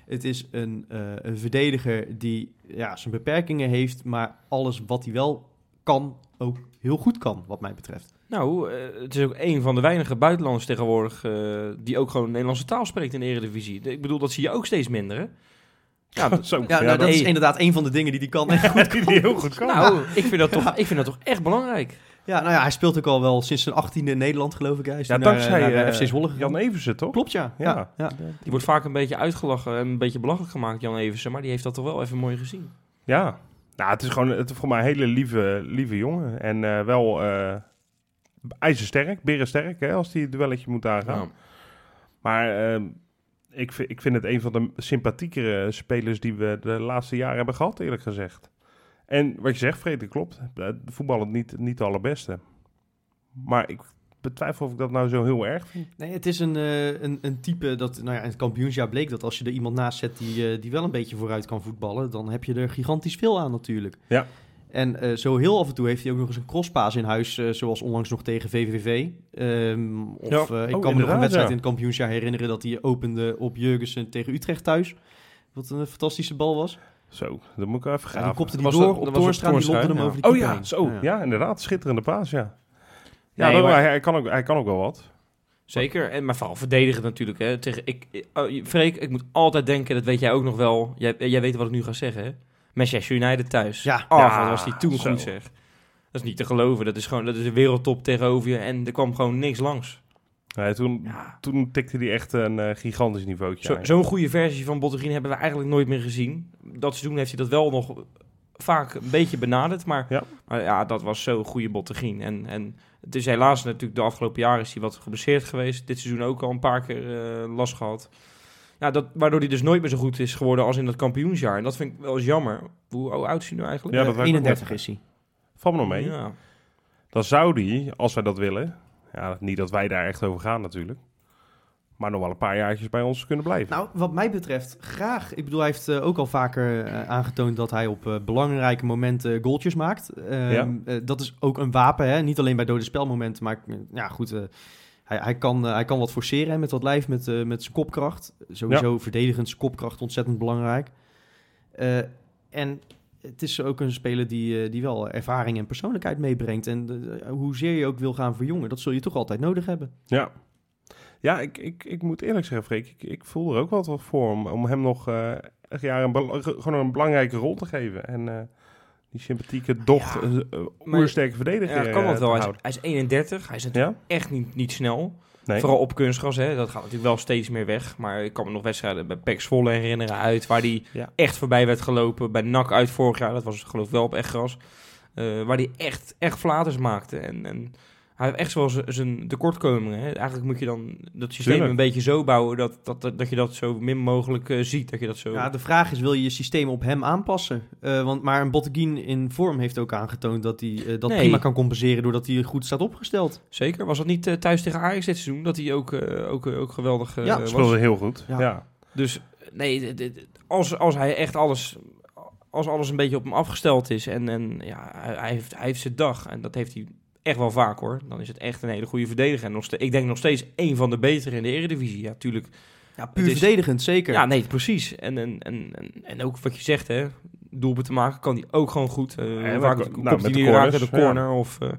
S2: Het is een, eh, een verdediger die ja, zijn beperkingen heeft, maar alles wat hij wel kan, ook heel goed kan, wat mij betreft.
S3: Nou, eh, het is ook een van de weinige buitenlanders tegenwoordig eh, die ook gewoon Nederlandse taal spreekt in de Eredivisie. Ik bedoel, dat zie je ook steeds minder, hè? Ja,
S1: [LAUGHS]
S3: dat-
S1: Zo.
S2: Ja, nou, dat
S1: [LAUGHS]
S2: is inderdaad een van de dingen die hij kan. [LAUGHS]
S1: dat die heel goed kan.
S3: [LAUGHS] nou, ik vind, dat toch, ik vind dat toch echt belangrijk.
S2: Ja, nou ja, hij speelt ook al wel sinds zijn 18e in Nederland, geloof ik. Hij is
S1: Ja,
S2: toen naar-
S1: dankzij,
S2: naar, eh,
S1: eh,
S2: FC Zwolle gegaan.
S1: Jan Eversen, toch?
S2: Klopt, ja.
S1: Ja.
S2: ja. ja.
S3: Die wordt vaak een beetje uitgelachen en een beetje belachelijk gemaakt, Jan Eversen. Maar die heeft dat toch wel even mooi gezien.
S1: Ja. Nou, het is gewoon het, is voor mij een hele lieve, lieve jongen. En eh, wel eh, ijzersterk, berensterk, hè, als hij het duelletje moet aangaan.
S3: Nou,
S1: Maar ehm, ik, vi- ik vind het een van de sympathiekere spelers die we de laatste jaren hebben gehad, eerlijk gezegd. En wat je zegt, Vrede, klopt. Eh, Voetballend niet, niet de allerbeste. Maar ik betwijfel of ik dat nou zo heel erg vind.
S2: Nee, het is een, eh, een, een type dat, nou ja, in het kampioensjaar bleek dat als je er iemand naast zet die, eh, die wel een beetje vooruit kan voetballen, dan heb je er gigantisch veel aan natuurlijk.
S1: Ja.
S2: En eh, zo heel af en toe heeft hij ook nog eens een crosspaas in huis, eh, zoals onlangs nog tegen VVV. Ehm, of
S1: Ja.
S2: eh,
S1: Oh,
S2: ik kan me nog
S1: inderdaad,
S2: een wedstrijd
S1: ja.
S2: in het kampioensjaar herinneren dat hij opende op Jurgensen tegen Utrecht thuis. Wat een fantastische bal was.
S1: Zo, dat moet ik even
S2: Ja, die
S1: graven.
S2: kopte die
S3: Was
S2: door
S3: dat-
S2: op
S3: dat was op
S2: Toorstra, die
S3: Toornstra,
S2: lopte hem
S3: ja.
S2: over de
S1: Oh
S2: keeper
S1: ja,
S2: heen.
S1: zo. Ja, inderdaad. Schitterende paas, ja. Ja,
S3: Nee,
S1: dat-
S3: maar-
S1: hij, hij kan ook, hij kan ook wel wat.
S3: Zeker. En, maar vooral verdedigen natuurlijk. Hè. Tegen, ik, ik- oh, je- Freek, ik moet altijd denken, dat weet jij ook nog wel. Jij, eh, jij weet wat ik nu ga zeggen, hè? Manchester United thuis.
S2: Ja.
S3: Ah,
S1: Ja,
S3: wat was die toen
S1: zo.
S3: goed, zeg. Dat is niet te geloven. Dat is gewoon dat is een wereldtop tegenover je. En er kwam gewoon niks langs.
S1: Nee, toen,
S3: Ja.
S1: toen tikte hij echt een eh, gigantisch niveautje
S3: Zo-
S1: aan.
S3: Zo'n goede versie van Bottegien hebben we eigenlijk nooit meer gezien. Dat seizoen heeft hij dat wel nog vaak een beetje benaderd. Maar
S1: Ja.
S3: maar ja dat was zo'n goede Bottegien. En, en het is helaas natuurlijk de afgelopen jaren is hij wat geblesseerd geweest. Dit seizoen ook al een paar keer eh, last gehad. Ja, dat, waardoor hij dus nooit meer zo goed is geworden als in dat kampioensjaar. En dat vind ik wel eens jammer. Hoe hoe oud is hij nu eigenlijk?
S1: Ja, dat
S2: Eh,
S1: werkt ook
S2: 31 is hij.
S1: Val me nog mee.
S3: Ja.
S1: Dan zou die, als wij dat willen... Ja, niet dat wij daar echt over gaan natuurlijk. Maar nog wel een paar jaartjes bij ons kunnen blijven.
S2: Nou, wat mij betreft, graag. Ik bedoel, hij heeft eh, ook al vaker eh, aangetoond dat hij op eh, belangrijke momenten eh, goaltjes maakt. Ehm,
S1: Ja.
S2: eh, dat is ook een wapen, hè? niet alleen bij dode spelmomenten, maar eh, ja, goed. eh, hij, hij, kan, eh, hij kan wat forceren hè, met dat lijf, met, eh, met zijn kopkracht. Sowieso verdedigend zijn kopkracht ontzettend belangrijk. Eh, en het is ook een speler die, eh, die wel ervaring en persoonlijkheid meebrengt. En eh, hoezeer je ook wil gaan verjongen, dat zul je toch altijd nodig hebben.
S1: Ja. Ja, ik, ik, ik moet eerlijk zeggen, Freek. Ik, ik voel er ook wel wat voor om, om hem nog eh, echt ja, een, bel- gewoon een belangrijke rol te geven. En eh, die sympathieke, doch,
S3: Ja.
S1: eh, eh,
S3: Maar-
S1: oersterke verdediger
S3: Ja, kan
S1: eh,
S3: dat
S1: te
S3: wel. Hij is,
S1: houden.
S3: hij is 31. Hij is natuurlijk
S1: Ja?
S3: echt niet, niet snel.
S1: Nee.
S3: Vooral op kunstgras, hè. dat gaat natuurlijk wel steeds meer weg. Maar ik kan me nog wedstrijden bij Pek Zwolle herinneren uit... waar die
S1: Ja.
S3: echt voorbij werd gelopen. Bij NAC uit vorig jaar, dat was geloof ik wel op echt gras. eh, waar die echt, echt flaters maakte. En, en hij heeft echt wel z- zijn tekortkomingen. Hè. Eigenlijk moet je dan dat systeem
S1: Tuurlijk.
S3: een beetje zo bouwen... Dat, dat, dat, dat je dat zo min mogelijk eh, ziet. Dat je dat zo...
S2: Ja, de vraag is, wil je je systeem op hem aanpassen? Eh, want, maar een Botteguin in vorm heeft ook aangetoond dat hij eh, dat
S3: Nee.
S2: prima kan compenseren doordat hij goed staat opgesteld.
S3: Zeker. Was dat niet eh, thuis tegen Ajax dit seizoen? Dat hij ook, eh, ook, ook geweldig eh,
S2: Ja,
S3: was?
S1: speelde heel goed.
S2: Ja.
S1: Ja. [LAUGHS]
S3: Dus nee, dit- dit- als, als hij echt alles, als alles een beetje op hem afgesteld is en, en ja, hij, hij heeft, hij heeft zijn dag en dat heeft hij echt wel vaak hoor. Dan is het echt een hele goede verdediger. En nog ste- ik denk nog steeds één van de betere in de Eredivisie. Ja, tuurlijk.
S2: Ja, puur
S3: Het is-
S2: verdedigend, zeker.
S3: Ja, nee, precies. En, en, en, en, en ook wat je zegt, hè, doelpunten maken kan hij ook gewoon goed. Eh
S1: Ja,
S3: vaak
S1: maar-
S3: kopt
S1: nou,
S3: hij
S1: met
S3: die
S1: de
S3: raken de
S1: corners,
S3: corner of... eh,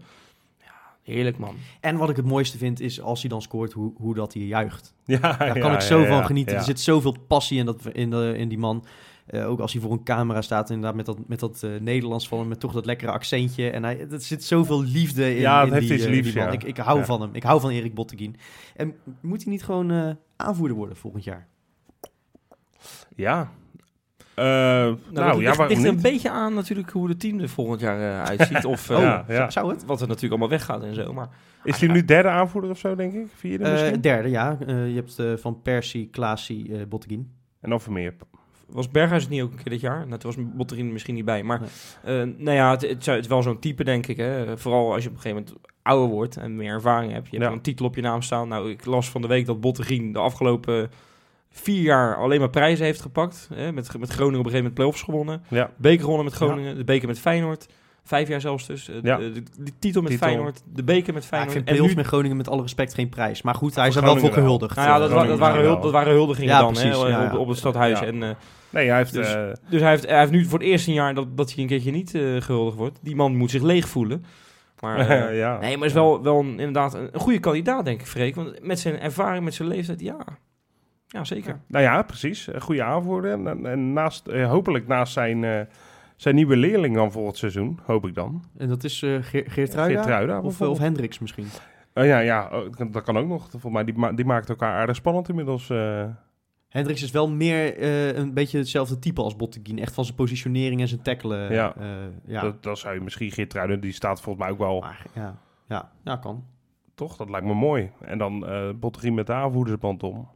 S3: ja, heerlijk man.
S2: En wat ik het mooiste vind is als hij dan scoort, hoe, hoe dat hij
S1: [LAUGHS]
S2: juicht.
S1: Ja,
S2: Daar
S1: ja,
S2: kan ik
S1: ja,
S2: zo
S1: ja,
S2: van genieten.
S1: ja.
S2: Er zit zoveel passie in, dat, in, de, in die man. Eh, ook als hij voor een camera staat, inderdaad met dat, met dat eh, Nederlands van hem, met toch dat lekkere accentje. En hij, er zit zoveel liefde in,
S1: Ja, het
S2: in
S1: heeft
S2: die,
S1: iets
S2: eh, die
S1: liefs,
S2: man.
S1: ja.
S2: Ik, ik hou
S1: Ja.
S2: van hem. Ik hou van Erik Botteguin. En moet hij niet gewoon eh, aanvoerder worden volgend jaar?
S1: Ja. Eh, nou,
S3: Nou, dat
S1: ja,
S3: ligt,
S1: waarom
S3: ligt er een
S1: niet? Oh,
S3: beetje aan natuurlijk hoe het team er volgend jaar eh,
S1: [LAUGHS]
S3: uitziet. Of, eh,
S1: Ja, ja.
S2: Zou het?
S3: Wat er natuurlijk allemaal weggaat en zo. Maar
S1: Is hij nu derde aanvoerder of zo, denk ik? Vierde
S2: Eh,
S1: misschien?
S2: derde, ja. Eh, je hebt eh, Van Persie, Klaasie, eh Botteguin.
S1: En dan Vermeer.
S3: was Berghuis het niet ook een keer dit jaar? Nou, toen was Botterin misschien niet bij. Maar
S2: Nee.
S3: eh, nou ja, het, het, zou- het is wel zo'n type, denk ik. Hè? Vooral als je op een gegeven moment ouder wordt en meer ervaring hebt. Je hebt
S1: Ja.
S3: een titel op je naam staan. Nou, ik las van de week dat Botterin de afgelopen vier jaar alleen maar prijzen heeft gepakt. Hè? Met, met Groningen op een gegeven moment play-offs gewonnen.
S1: Ja.
S3: Beker gewonnen met Groningen, de beker met Feyenoord. Vijf jaar zelfs dus. Eh,
S1: Ja.
S3: de, de- de titel met
S1: Titel.
S3: Feyenoord, de beker met
S2: Ja, ik
S3: Feyenoord.
S2: vind
S3: en
S2: play-offs
S3: nu
S2: met Groningen met alle respect geen prijs. Maar goed, hij is
S1: Voor
S2: er wel voor
S1: Groningen wel.
S2: gehuldigd.
S3: nou ja, dat, wa- dat,
S1: Groningen
S3: waren, hul-
S1: wel.
S3: dat waren huldigingen
S2: Ja,
S3: dan
S2: precies,
S3: hè,
S2: ja,
S3: op,
S2: ja.
S3: op het stadhuis.
S1: Ja.
S3: En, eh,
S1: Nee, hij heeft...
S3: Dus-
S1: eh,
S3: Dus hij heeft, hij heeft nu voor het eerste jaar dat, dat hij een keertje niet eh, gehuldigd wordt. Die man moet zich leeg voelen.
S1: [LAUGHS]
S3: Maar, eh,
S1: ja.
S3: Nee, maar is wel, wel een, inderdaad een, een goede kandidaat, denk ik, Freek. Want met zijn ervaring, met zijn leeftijd, ja. Ja, zeker.
S1: Nou ja, precies. Een goede aanvoerder. En, en, en naast, eh, hopelijk naast zijn, eh, Zijn nieuwe leerling dan volgend seizoen, hoop ik dan.
S2: En dat is eh Geert Geertruida?
S1: Geertruida.
S2: Of,
S1: bijvoorbeeld.
S2: of Hendricks misschien.
S1: Eh, ja, ja, oh, dat kan ook nog. Volgens mij, die, ma- die maakt elkaar aardig spannend inmiddels. eh.
S2: Hendricks is wel meer eh, een beetje hetzelfde type als Botteguin. Echt van zijn positionering en zijn tackelen.
S1: Ja.
S2: eh, ja.
S1: Dat, dat zou je misschien Geertruiden, die staat volgens mij ook wel,
S2: Maar, ja. Ja. ja, kan.
S1: toch? Dat lijkt me mooi. En dan eh Botterie met de aanvoerdersband om.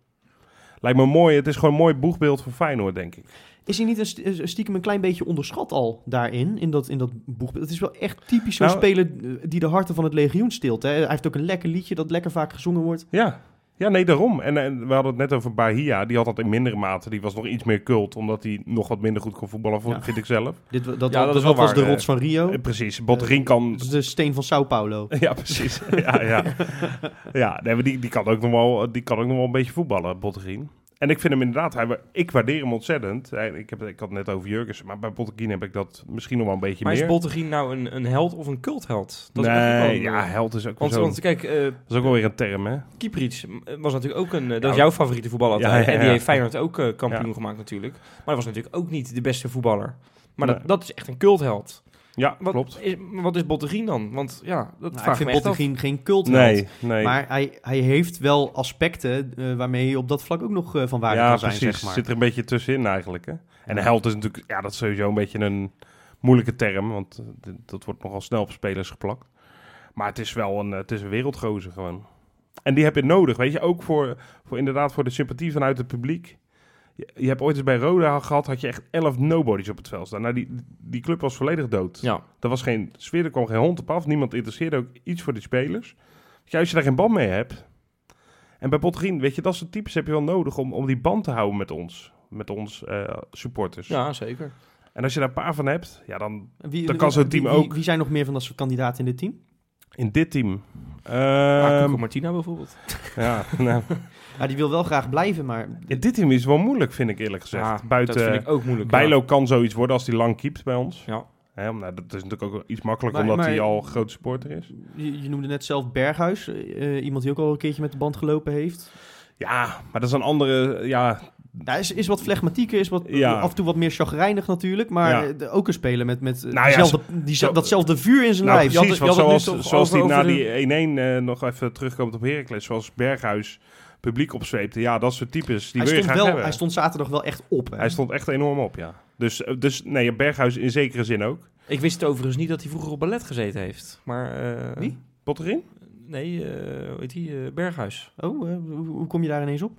S1: Lijkt me mooi. Het is gewoon een mooi boegbeeld voor Feyenoord, denk ik.
S2: Is hij niet een st- een stiekem een klein beetje onderschat al daarin? In dat, in dat boekbeeld. Het is wel echt typisch zo'n
S1: Nou-
S2: speler eh, die de harten van het legioen stilt. Hè? Hij heeft ook een lekker liedje dat lekker vaak gezongen wordt.
S1: Ja, ja nee, daarom. En, en we hadden het net over Bahia. Die had dat in mindere mate. Die was nog iets meer cult, omdat hij nog wat minder goed kon voetballen, vo-
S2: Ja.
S1: vind ik zelf.
S2: Dit, dat
S3: wel
S2: dat, dat was
S3: waar,
S2: de
S3: eh.
S2: rots van Rio.
S1: Eh, precies. Botterie kan...
S2: Dat
S3: dus-
S2: is de steen van Sao Paulo.
S1: [LAUGHS] Ja, precies. [LAUGHS] ja, ja. ja nee, maar die, die, kan ook nog wel, die kan ook nog wel een beetje voetballen, Botterie. En ik vind hem inderdaad, hij, wa- ik waardeer hem ontzettend. Hij- Ik, heb, ik had het net over Jurgensen, maar bij Botterie heb ik dat misschien nog wel een beetje
S3: Maar
S1: meer.
S3: is Bottegien nou een, een held of een cultheld? Dat is
S1: nee,
S3: eigenlijk wel-
S1: ja, held is ook
S3: Want,
S1: zo.
S3: want kijk, eh
S1: dat is ook wel weer een term, hè?
S3: Kieprits was natuurlijk ook een... eh, dat
S1: Ja.
S3: is jouw favoriete voetballer.
S1: Ja, ja,
S3: En die
S1: ja.
S3: heeft Feyenoord ook eh, kampioen
S1: Ja.
S3: gemaakt natuurlijk. Maar dat was natuurlijk ook niet de beste voetballer. Maar dat,
S1: Nee.
S3: dat is echt een cultheld.
S1: Ja,
S3: Wat
S1: klopt.
S3: Is, maar wat is Bottegien dan? Want ja, dat
S2: Nou, ik
S3: vraag ik
S2: vind
S3: me echt af.
S2: Botteguin geen cult.
S1: Nee, nee.
S2: Maar hij, hij heeft wel aspecten eh, waarmee je op dat vlak ook nog eh, van waarde
S1: ja,
S2: kan zijn,
S1: precies.
S2: zeg maar.
S1: Zit er een beetje tussenin eigenlijk, hè? En de held is natuurlijk, ja, dat is sowieso een beetje een moeilijke term, want eh, dit- dat wordt nogal snel op spelers geplakt. Maar het is wel een, eh, het is een wereldgozer gewoon. En die heb je nodig, weet je, ook voor, voor inderdaad voor de sympathie vanuit het publiek. Je, je hebt ooit eens bij Roda gehad, had je echt 11 nobodies op het veld staan. Nou, die, die club was volledig dood.
S3: Ja.
S1: Er was geen sfeer, er kwam geen hond op af. Niemand interesseerde ook iets voor die spelers. Dus ja, als je daar geen band mee hebt. En bij Botterien, weet je, dat soort types heb je wel nodig om, om die band te houden met ons. Met ons eh, supporters.
S3: ja, zeker.
S1: En als je daar een paar van hebt, ja, dan
S2: Wie,
S1: Dan kan zo'n
S2: wie-
S1: team
S2: wie-
S1: ook.
S2: Wie zijn nog meer van dat soort kandidaten in dit team?
S1: in dit team.
S3: Maar Cuco
S1: Ehm
S3: Martina bijvoorbeeld.
S1: ja, nou,
S2: Ja, die wil wel graag blijven, maar...
S1: in dit team is wel moeilijk, vind ik eerlijk gezegd.
S3: Ja,
S1: Buiten
S3: dat vind ik ook moeilijk. ja.
S1: Bijlo kan zoiets worden als hij lang keept bij ons.
S3: Ja.
S1: Hè, om- nou, dat is natuurlijk ook iets makkelijker
S2: Maar-
S1: omdat
S2: maar-
S1: hij al groot supporter is.
S2: Je, je noemde net zelf Berghuis. eh, eh, iemand die ook al een keertje met de band gelopen heeft.
S1: Ja, maar dat is een andere. Ja,
S2: Nou, is, is wat flegmatieker, is wat,
S1: Ja.
S2: af en toe wat meer chagrijnig natuurlijk. Maar
S1: Ja.
S2: eh, de- ook een speler met, met eh,
S1: Nou ja,
S2: diezelfde- die,
S1: zo-
S2: datzelfde vuur in zijn
S1: Nou,
S2: lijf.
S3: Je had
S1: precies,
S3: het- je
S1: want
S3: had het nu
S1: zoals,
S3: toch
S1: zoals die
S3: over-
S1: na
S3: over
S1: die 1-1 eh, nog even terugkomt op Heracles, zoals Berghuis publiek opzweepte. Ja, dat soort types, die
S2: hij,
S1: wil je
S2: stond
S1: graag
S2: wel,
S1: hebben.
S2: hij stond zaterdag wel echt op. Hè?
S1: Hij stond echt enorm op, ja. Dus, eh, dus nee, Berghuis in zekere zin ook.
S3: Ik wist overigens niet dat hij vroeger op ballet gezeten heeft. Maar, eh,
S2: Wie?
S1: Botterin?
S3: Nee, eh hoe heet die? Eh, Berghuis.
S2: Oh, eh, hoe, hoe kom je daar ineens op?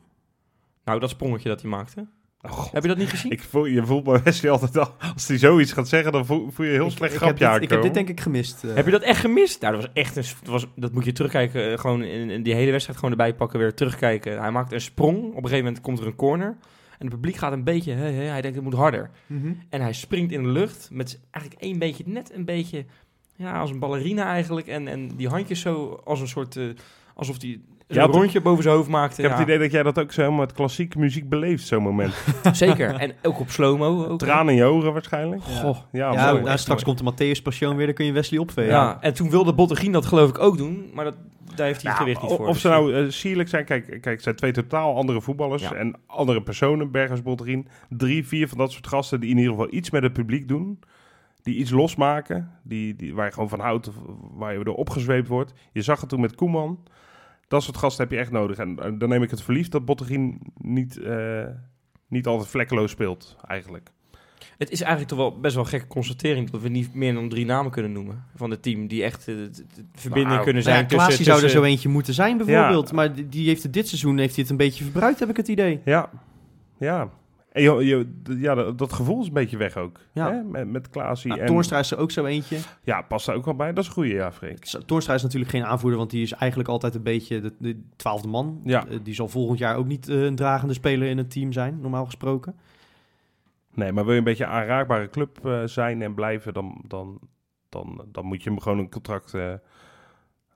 S3: Nou, dat sprongetje dat hij maakte.
S1: Oh, God.
S3: Heb je dat niet gezien?
S1: Ik voel, je voelt [LAUGHS] bij Wesley altijd al, als hij zoiets gaat zeggen, dan voel, voel je een heel
S2: ik,
S1: slecht
S2: ik heb
S1: grapje
S2: dit, ik heb
S1: aankomen.
S2: dit denk ik gemist. eh.
S3: Heb je dat echt gemist? Nou, dat was echt een... s- Dat, was, dat moet je terugkijken. eh, gewoon in, in die hele wedstrijd gewoon erbij pakken, weer terugkijken. Hij maakt een sprong. Op een gegeven moment komt er een corner. En het publiek gaat een beetje... hè, hè, hij denkt, het moet harder.
S2: Mhm.
S3: En hij springt in de lucht met z- eigenlijk één beetje, net een beetje... Ja, als een ballerina eigenlijk. En, en die handjes zo als een soort... eh, alsof hij
S1: Ja,
S3: een
S1: op de-
S3: rondje boven zijn hoofd maakte.
S1: Ik heb
S3: ja,
S1: het idee dat jij dat ook zo helemaal met klassieke muziek beleeft, zo'n
S2: [LAUGHS]
S1: moment.
S3: Zeker. En ook op slow-mo. ook.
S1: Tranen in je ogen waarschijnlijk.
S3: Goh.
S1: Ja,
S2: ja,
S1: mooi. Dus
S2: nou, straks komt de Matthäus Passion weer, dan kun je Wesley
S3: Ja.
S2: opvegen.
S3: en toen wilde Bottegien dat geloof ik ook doen, maar dat, daar heeft hij het
S1: Ja,
S3: gewicht niet
S1: of-
S3: voor.
S1: Of
S3: dus-
S1: ze nou eh, sierlijk zijn, kijk, kijk, het zijn twee totaal andere voetballers
S3: Ja.
S1: en andere personen, Bergers, Botterien. Drie, vier van dat soort gasten die in ieder geval iets met het publiek doen. Die iets losmaken, die, die, waar je gewoon van houdt, of waar je door opgezweept wordt. Je zag het toen met Koeman. Dat soort gasten heb je echt nodig. En eh, dan neem ik het verliefd dat Botterien niet, eh, niet altijd vlekkeloos speelt, eigenlijk.
S3: Het is eigenlijk toch wel best wel een gekke constatering dat we niet meer dan drie namen kunnen noemen van het team die echt eh, de, de- de verbinding
S1: Nou,
S3: kunnen
S2: Nou
S3: zijn
S2: ja, Klaas die
S3: tussen...
S2: zou er zo
S3: tussen-
S2: eentje moeten zijn bijvoorbeeld. Maar die- die heeft het dit seizoen heeft hij het een beetje verbruikt, heb ik het idee.
S1: Ja, ja. En je, je, ja, dat, dat gevoel is een beetje weg ook.
S2: Ja.
S1: Hè? Met, met Klaasie
S2: Nou,
S1: en...
S2: Toornstra is er ook zo eentje.
S1: Ja, past daar ook wel bij. Dat is een goede, ja, Freek.
S2: Toornstra is natuurlijk geen aanvoerder, want die is eigenlijk altijd een beetje de, de twaalfde man.
S1: Ja.
S2: Eh, die zal volgend jaar ook niet eh, een dragende speler in het team zijn, normaal gesproken.
S1: Nee, maar wil je een beetje een aanraakbare club eh, zijn en blijven, dan, dan, dan, dan moet je hem gewoon een contract eh,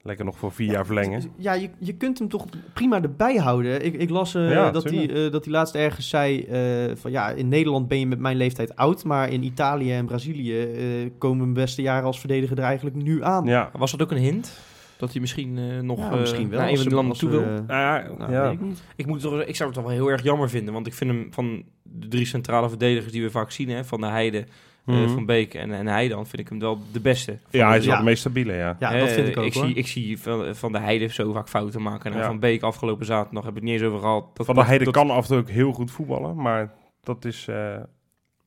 S1: lekker nog voor vier jaar verlengen.
S2: Ja, je, je kunt hem toch prima erbij houden. Ik, ik las eh,
S1: Ja,
S2: dat, hij,
S1: tuurlijk.
S2: eh dat hij laatst ergens zei eh, van ja, in Nederland ben je met mijn leeftijd oud, maar in Italië en Brazilië eh, komen mijn beste jaren als verdediger er eigenlijk nu aan.
S1: Ja,
S3: Was dat ook een hint? Dat hij misschien eh, nog
S2: Ja,
S3: eh,
S2: misschien wel.
S3: naar een
S2: als
S3: van
S2: ze-
S3: die landen
S2: als ze,
S3: toe wil?
S2: eh,
S1: Ah,
S2: nou,
S1: ja.
S2: weet ik niet.
S3: Ik, moet toch, ik zou het toch wel heel erg jammer vinden, want ik vind hem van de drie centrale verdedigers die we vaak zien, hè, van de Heide, eh,
S1: Mhm.
S3: Van Beek en, en hij dan, vind ik hem wel de beste.
S1: Ja, hij is wel
S2: Ja.
S1: het meest stabiele, ja.
S2: Ja,
S3: Eh,
S2: dat vind ik ook
S3: ik
S2: hoor.
S3: Zie, ik zie van, van de Heide zo vaak fouten maken. En
S1: Ja.
S3: Van Beek afgelopen zaterdag heb ik het niet eens over gehad. Dat
S1: Van der Heide
S3: dat-
S1: kan af en toe ook heel goed voetballen, maar dat is, eh,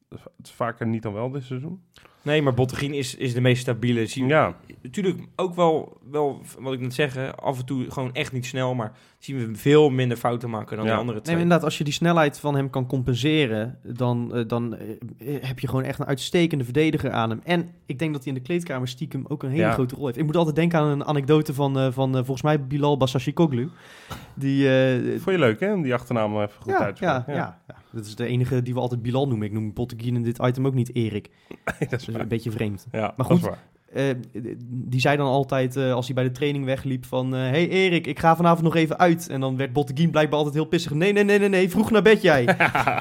S1: het is vaker niet dan wel dit seizoen.
S3: Nee, maar Bottegien is, is de meest stabiele. Zie,
S1: Ja,
S3: Natuurlijk ook wel, wel, wat ik net zeg, hè, af en toe gewoon echt niet snel. Maar zien we hem veel minder fouten maken dan
S1: Ja.
S3: de andere
S2: Nee,
S3: twee.
S2: maar inderdaad, als je die snelheid van hem kan compenseren, dan, eh, dan eh, heb je gewoon echt een uitstekende verdediger aan hem. En ik denk dat hij in de kleedkamer stiekem ook een hele
S1: Ja.
S2: grote rol heeft. Ik moet altijd denken aan een anekdote van, eh, van eh, volgens mij Bilal Basashikoglu. Die, eh,
S1: vond je leuk hè, om die achternaam even goed
S2: ja,
S1: uit te
S2: ja,
S1: spreken?
S2: ja. ja. dat is de enige die we altijd Bilal noemen. Ik noem Botteguin in dit item ook niet
S1: [LAUGHS]
S2: Erik.
S1: dat is
S2: Dat is
S1: waar.
S2: een beetje vreemd.
S1: Ja, dat
S2: goed,
S1: is waar.
S2: Eh, die zei dan altijd, eh, als hij bij de training wegliep, van... eh, hey Erik, ik ga vanavond nog even uit. En dan werd Botteguin blijkbaar altijd heel pissig. Nee, nee, nee, nee, nee, vroeg naar bed
S1: [LAUGHS]
S2: jij.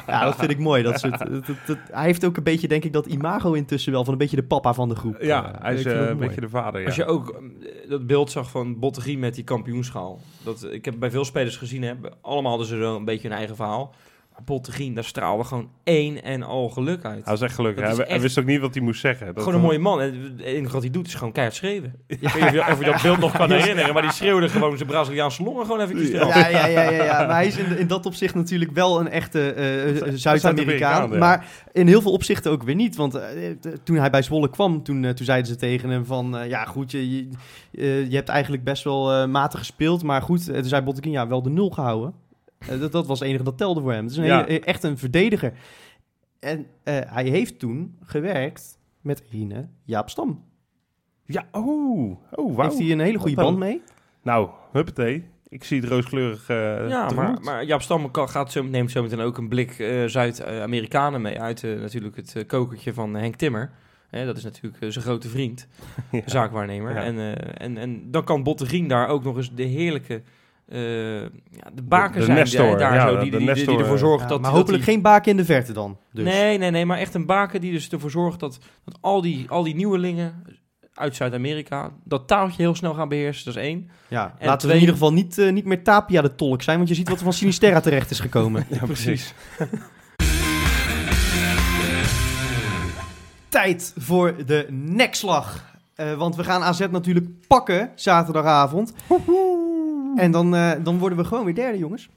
S2: ja, dat vind ik mooi. Dat soort, dat- dat- dat- hij heeft ook een beetje, denk ik, dat imago intussen wel... van een beetje de papa van de groep.
S1: Ja,
S2: Eh,
S1: hij is
S2: ik vind
S1: eh,
S2: dat
S1: een
S2: mooi.
S1: beetje de vader, ja.
S3: Als je ook eh, dat beeld zag van Bottegien met die kampioenschaal. Dat, ik heb bij veel spelers gezien, hè, bij- allemaal hadden ze wel een beetje hun eigen verhaal. Maar Bottegien, daar straalde gewoon één en al geluk uit.
S1: Hij was echt gelukkig.
S3: Dat
S1: Hij,
S3: is
S1: hij
S3: echt-
S1: wist ook niet wat hij moest zeggen. Dat eh,
S3: gewoon een mooie man. En het enige wat hij doet is gewoon keihard schreeuwen. Ik weet niet of je, of je dat beeld nog kan herinneren, maar die schreeuwde gewoon zijn Braziliaanse longen gewoon eventjes eraf.
S2: Ja, ja, ja, ja, ja. Maar hij is in, in dat opzicht natuurlijk wel een echte eh, eh, Zuid-Amerikaan.
S1: Zuid-Amerikaan, ja.
S2: Maar in heel veel opzichten ook weer niet. Want eh, eh, toen hij bij Zwolle kwam, toen, eh, toen zeiden ze tegen hem van... eh, ja, goed, je, je, eh, je hebt eigenlijk best wel eh, matig gespeeld. Maar goed, eh, toen zei Bottekin, ja, wel de nul gehouden. Eh, dat, dat was het enige dat telde voor hem. Het is een
S1: Ja.
S2: hele- eh, echt een verdediger. En eh, hij heeft toen gewerkt met Hine Jaap Stam.
S1: Ja, oh, oh wauw.
S2: Heeft hij een hele goede
S1: Wat een-
S2: band mee?
S1: Nou, huppatee. Ik zie het rooskleurig eh
S3: Ja,
S1: tegemoet.
S3: maar, maar Jaap Stam kan- gaat zo, neemt zometeen ook een blik eh, Zuid-Amerikanen mee. Uit eh, natuurlijk het eh, kokertje van Henk Timmer. Hè, dat is natuurlijk eh, zijn grote
S1: [LAUGHS]
S3: vriend,
S1: Ja.
S3: zaakwaarnemer.
S1: Ja.
S3: En, eh, en, en dan kan Bottegien daar ook nog eens de heerlijke... eh, ja, de baken
S1: De- de
S3: zijn
S1: Nestor,
S3: die, daar
S1: ja,
S3: zo,
S1: de-
S3: die,
S1: de
S3: die, die, die
S1: Nestor, eh.
S3: ervoor zorgt
S2: Ja,
S3: dat...
S2: maar
S3: dat
S2: hopelijk
S3: die-
S2: geen baken in de verte dan. Dus.
S3: Nee, nee, nee, maar echt een baken die dus ervoor zorgt dat, dat al, die, al die nieuwelingen uit Zuid-Amerika... dat taaltje heel snel gaan beheersen, dat is één.
S2: Ja,
S3: En
S2: laten we
S3: twee-
S2: in ieder geval niet, eh, niet meer Tapia de tolk zijn, want je ziet wat er van Sinisterra terecht is gekomen.
S1: [LAUGHS] Ja, precies.
S2: [LAUGHS] Tijd voor de nekslag. Eh, want we gaan AZ natuurlijk pakken zaterdagavond. En dan, eh, dan worden we gewoon weer derde, jongens.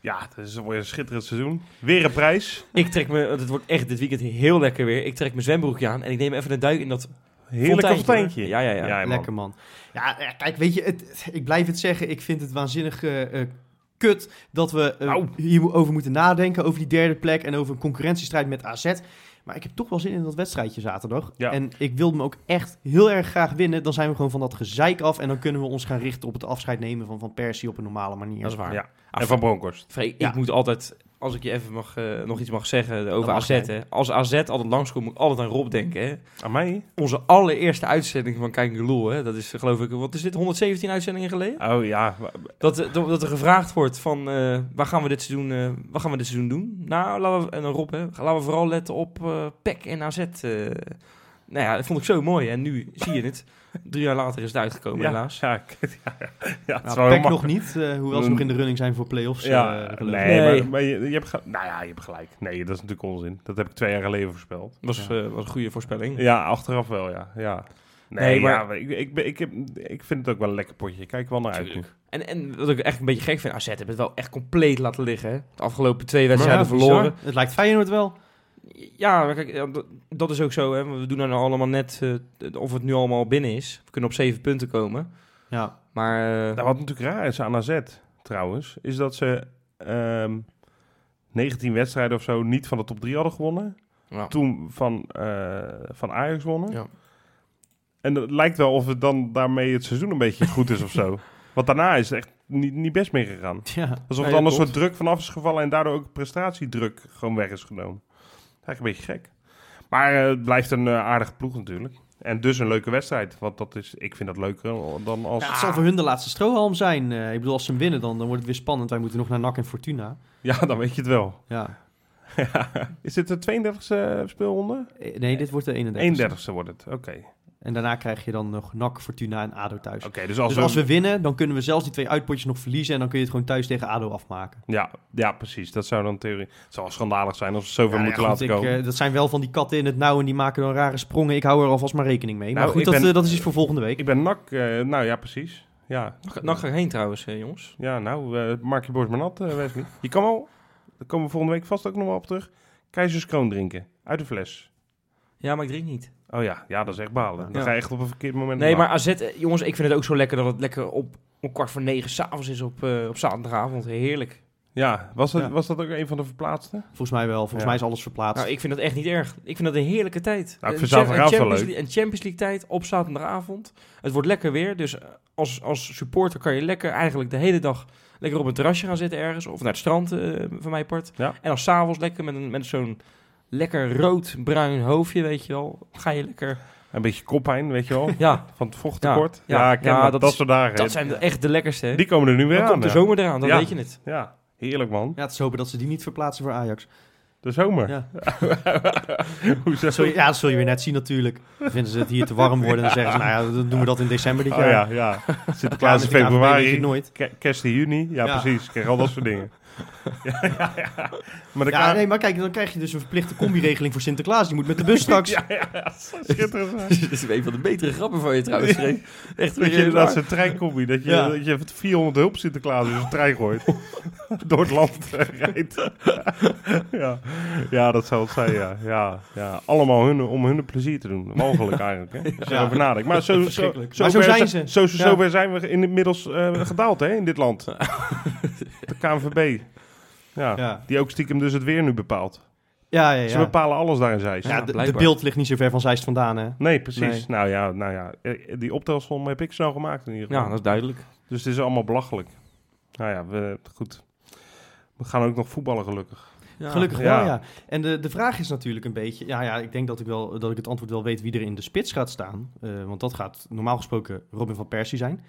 S1: Ja, het is weer een schitterend seizoen. Weer een prijs.
S3: Ik trek me, want het wordt echt dit weekend heel lekker weer. Ik trek mijn zwembroekje aan en ik neem even een duik in dat
S1: Heerlijk
S3: fonteintje.
S1: kapiteintje.
S3: Ja, ja, ja.
S1: man.
S2: Lekker man. Ja, eh, kijk, weet je, het, ik blijf het zeggen. Ik vind het waanzinnig eh, eh, kut dat we eh,
S1: Au.
S2: hierover moeten nadenken. Over die derde plek en over een concurrentiestrijd met AZ. Maar ik heb toch wel zin in dat wedstrijdje zaterdag.
S1: Ja.
S2: En ik wil hem ook echt heel erg graag winnen. Dan zijn we gewoon van dat gezeik af. En dan kunnen we ons gaan richten op het afscheid nemen van Van Persie op een normale manier.
S3: Dat is waar.
S1: Ja.
S3: Ah,
S1: En Van Bronckhorst.
S3: Freek, ik
S2: Ja.
S3: moet altijd, als ik je even mag, eh, nog iets mag zeggen over
S2: mag
S3: AZ.
S2: jij.
S3: Hè. Als AZ altijd langskomt, moet ik altijd aan Rob denken. Hè.
S1: Aan mij?
S3: Onze allereerste uitzending van Kijk Geloel, hè. dat is eh, geloof ik, wat is dit, 117 uitzendingen geleden?
S1: Oh ja. wa-
S3: Dat, eh, dat, dat er gevraagd wordt van, eh, waar, gaan we dit seizoen, eh waar gaan we dit seizoen doen? Nou, laten we, en dan Rob, hè, laten we vooral letten op eh PEC en AZ. eh. nou ja, dat vond ik zo mooi. En nu zie je het. Drie jaar later is het uitgekomen,
S1: ja,
S3: helaas.
S1: Ja, ik- [LAUGHS] ja, ja. ja, het is wel
S2: Nou,
S1: heel
S2: Peck
S1: makkelijk.
S2: nog
S1: Mm.
S2: niet, eh, hoewel ze nog in de running zijn voor play-offs.
S1: Ja,
S2: eh, geloof ik.
S1: nee,
S3: Nee.
S1: maar, maar je, je hebt ge- nou ja, je hebt gelijk. Nee, dat is natuurlijk onzin. Dat heb ik twee jaar geleden voorspeld.
S3: was, eh, was een goede voorspelling.
S1: Ja, achteraf wel, ja. ja. Nee,
S3: Nee, maar-
S1: maar... Ja, maar ik, ik, ben- ik, heb, ik vind het ook wel een lekker potje. Ik Kijk wel naar uit nu.
S3: En, en wat ik echt een beetje gek vind, AZ hebben het wel echt compleet laten liggen. hè. De afgelopen twee wedstrijden
S2: Ja,
S3: verloren.
S2: bizar. Het lijkt Feyenoord wel.
S3: Ja, maar kijk, ja, dat- dat is ook zo. Hè. We doen dan allemaal net eh, of het nu allemaal binnen is. We kunnen op zeven punten komen.
S2: Ja.
S3: Maar eh,
S1: Nou, wat natuurlijk raar is aan AZ, trouwens, is dat ze ehm, 19 wedstrijden of zo niet van de top 3 hadden gewonnen.
S3: Ja.
S1: Toen van, eh, van Ajax wonnen.
S3: Ja.
S1: En het lijkt wel of het dan daarmee het seizoen een beetje goed is of zo.
S2: [LAUGHS]
S1: Want daarna is het echt niet, niet best meer gegaan.
S2: ja.
S1: Alsof
S3: Nee,
S1: er dan een
S3: dat
S1: soort druk vanaf is gevallen en daardoor ook prestatiedruk gewoon weg is genomen. Eigenlijk een beetje gek. Maar eh, het blijft een eh, aardige ploeg natuurlijk. En dus een leuke wedstrijd. Want dat is, ik vind dat leuker dan als... Ah.
S2: Het zal voor hun de laatste strohalm zijn. Eh, ik bedoel, als ze hem winnen, dan, dan wordt het weer spannend. Wij moeten nog naar NAC en Fortuna.
S1: Ja, dan weet je het wel.
S2: Ja.
S1: Is dit de 32e speelronde?
S2: Eh, Nee, dit wordt de 31.
S1: 31e wordt het, oké.
S2: En daarna krijg je dan nog NAC, Fortuna en ADO thuis.
S1: Oké, dus als
S2: dus
S1: we...
S2: als we winnen, dan kunnen we zelfs die twee uitpotjes nog verliezen. En dan kun je het gewoon thuis tegen ADO afmaken.
S1: Ja, ja, precies. Dat zou dan theorie... Het zou wel schandalig zijn als we zoveel
S2: Ja,
S1: moeten
S2: ja, goed,
S1: laten
S2: ik,
S1: komen.
S2: eh, dat zijn wel van die katten in het nauw en die maken dan rare sprongen. Ik hou er alvast maar rekening mee.
S1: Nou,
S2: maar goed,
S1: ik
S2: dat,
S1: ben-
S2: eh, dat is iets voor volgende week.
S1: ik ben nak. eh, nou ja, precies. Ja,
S3: Nog, nog heen trouwens, eh, jongens.
S1: ja nou, eh, maak je borst maar nat, eh, Wesley. Je kan wel, daar komen we volgende week vast ook nog wel op terug, keizerskroon drinken. Uit de fles.
S3: Ja, maar ik drink niet.
S1: Oh ja, ja dat is echt balen. Dan
S3: Ja.
S1: ga je echt op een verkeerd moment
S3: Nee,
S1: naar-
S3: maar AZ, eh, jongens, ik vind het ook zo lekker dat het lekker op, om kwart voor negen s'avonds is op, eh, op zaterdagavond. Heerlijk.
S1: Ja, was dat,
S2: Ja.
S1: was dat ook een van de verplaatsten?
S2: Volgens mij wel. Volgens
S1: Ja.
S2: mij is alles verplaatst.
S3: Nou, ik vind dat echt niet erg. Ik vind dat een heerlijke tijd.
S1: Nou, ik
S3: Een
S1: vind
S3: cha- een
S1: zaterdagavond wel
S3: Champions League- Een Champions League tijd op zaterdagavond. Het wordt lekker weer, dus eh, als, als supporter kan je lekker eigenlijk de hele dag lekker op een terrasje gaan zitten ergens. Of naar het strand, eh, van mijn part.
S1: Ja.
S3: En dan s'avonds lekker met, een- met zo'n lekker rood-bruin hoofdje, weet je wel. Ga je lekker...
S1: Een beetje koppijn, weet je wel,
S3: Ja,
S1: van het vochttekort. Ja,
S3: Ja, ja,
S1: ik ken
S3: ja,
S1: dat,
S3: dat
S1: dat
S3: is-
S1: soort dagen.
S3: dat zijn echt de lekkerste, hè.
S1: Die komen er nu weer
S3: Dan
S1: aan.
S3: komt de
S1: ja.
S3: zomer eraan, dan
S1: Ja.
S3: weet je het.
S1: Ja, heerlijk man.
S2: Ja, het is hopen dat ze die niet verplaatsen voor Ajax.
S1: De zomer.
S2: Ja.
S1: [LAUGHS] Hoezo?
S2: Dat zul je, ja, dat zul je weer net zien natuurlijk. Dan vinden ze het hier te warm worden en dan zeggen ze, nou ja, dan doen we dat in december dit
S1: Oh
S2: jaar.
S1: ja,
S2: [LAUGHS]
S1: ja.
S2: Ja,
S1: Sinterklaas
S2: met
S1: in
S2: de KNVB weet je
S1: februari.
S2: nooit.
S1: Ke- Kerst in juni, ja,
S2: Ja.
S1: precies. Ik krijg al dat soort
S2: [LAUGHS]
S1: dingen. ja, ja, ja. Maar dan
S2: Ja, nee, maar kijk, dan krijg je dus een verplichte combiregeling voor Sinterklaas. Je moet met de bus
S1: [LAUGHS]
S2: straks.
S1: ja, ja, ja, schitterend.
S3: [LAUGHS] Dit is een van de betere grappen van je trouwens, Freek. Echt
S1: Dat
S3: weer
S1: je inderdaad zo'n trein combi, dat je,
S2: Ja.
S1: dat je 400 hulp Sinterklaas in zo'n trein
S2: [LAUGHS]
S1: gooit. Door het land eh, rijdt. [LAUGHS] ja. ja, dat zou het zijn, ja. ja, ja. Allemaal hun, om hun plezier te doen. Mogelijk
S2: [LAUGHS]
S1: eigenlijk, hè. Als je
S2: Ja.
S1: erover nadenkt. Maar zo, zo,
S2: Verschrikkelijk.
S1: zo,
S2: Maar zo
S1: ver
S2: zijn
S1: zi-
S2: ze.
S1: Zo, zo,
S2: Ja.
S1: zover zijn we inmiddels eh,
S2: [LAUGHS]
S1: gedaald, hè, in dit land. De KNVB. Ja.
S2: Ja,
S1: Die ook stiekem dus het weer nu bepaalt.
S2: ja, ja.
S1: Ze
S2: ja.
S1: bepalen alles daar in Zeist.
S2: Ja,
S3: Ja,
S2: de, de
S3: blijkbaar.
S2: beeld ligt niet zo ver van Zeist vandaan, hè?
S1: Nee, precies.
S2: Nee.
S1: Nou ja, nou ja, eh, die optelsom heb ik snel gemaakt in ieder geval.
S3: Ja, dat is duidelijk.
S1: Dus het is allemaal belachelijk. Nou ja, we, goed. We gaan ook nog voetballen gelukkig.
S2: Gelukkig
S1: Ja.
S2: wel, ja. En de, de vraag is natuurlijk een beetje... Ja, ja, ik denk dat ik, wel, dat ik het antwoord wel weet wie er in de spits gaat staan. Eh, want dat gaat normaal gesproken Robin van Persie zijn.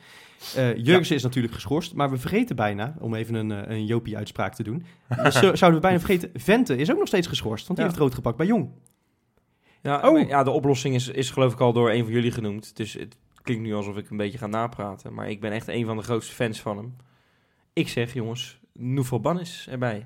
S2: Eh Jurgensen is natuurlijk geschorst, maar we vergeten bijna... om even een, eh, een Jopie-uitspraak te doen. [LAUGHS] Dus zo- zouden we bijna vergeten, Vente is ook nog steeds geschorst... want die
S1: Ja.
S2: heeft rood gepakt bij Jong.
S3: Ja,
S1: Oh.
S3: maar ja, de oplossing is, is geloof ik al door een van jullie genoemd. Dus het klinkt nu alsof ik een beetje ga napraten. Maar ik ben echt een van de grootste fans van hem. Ik zeg, jongens, Nouveau Bannis erbij.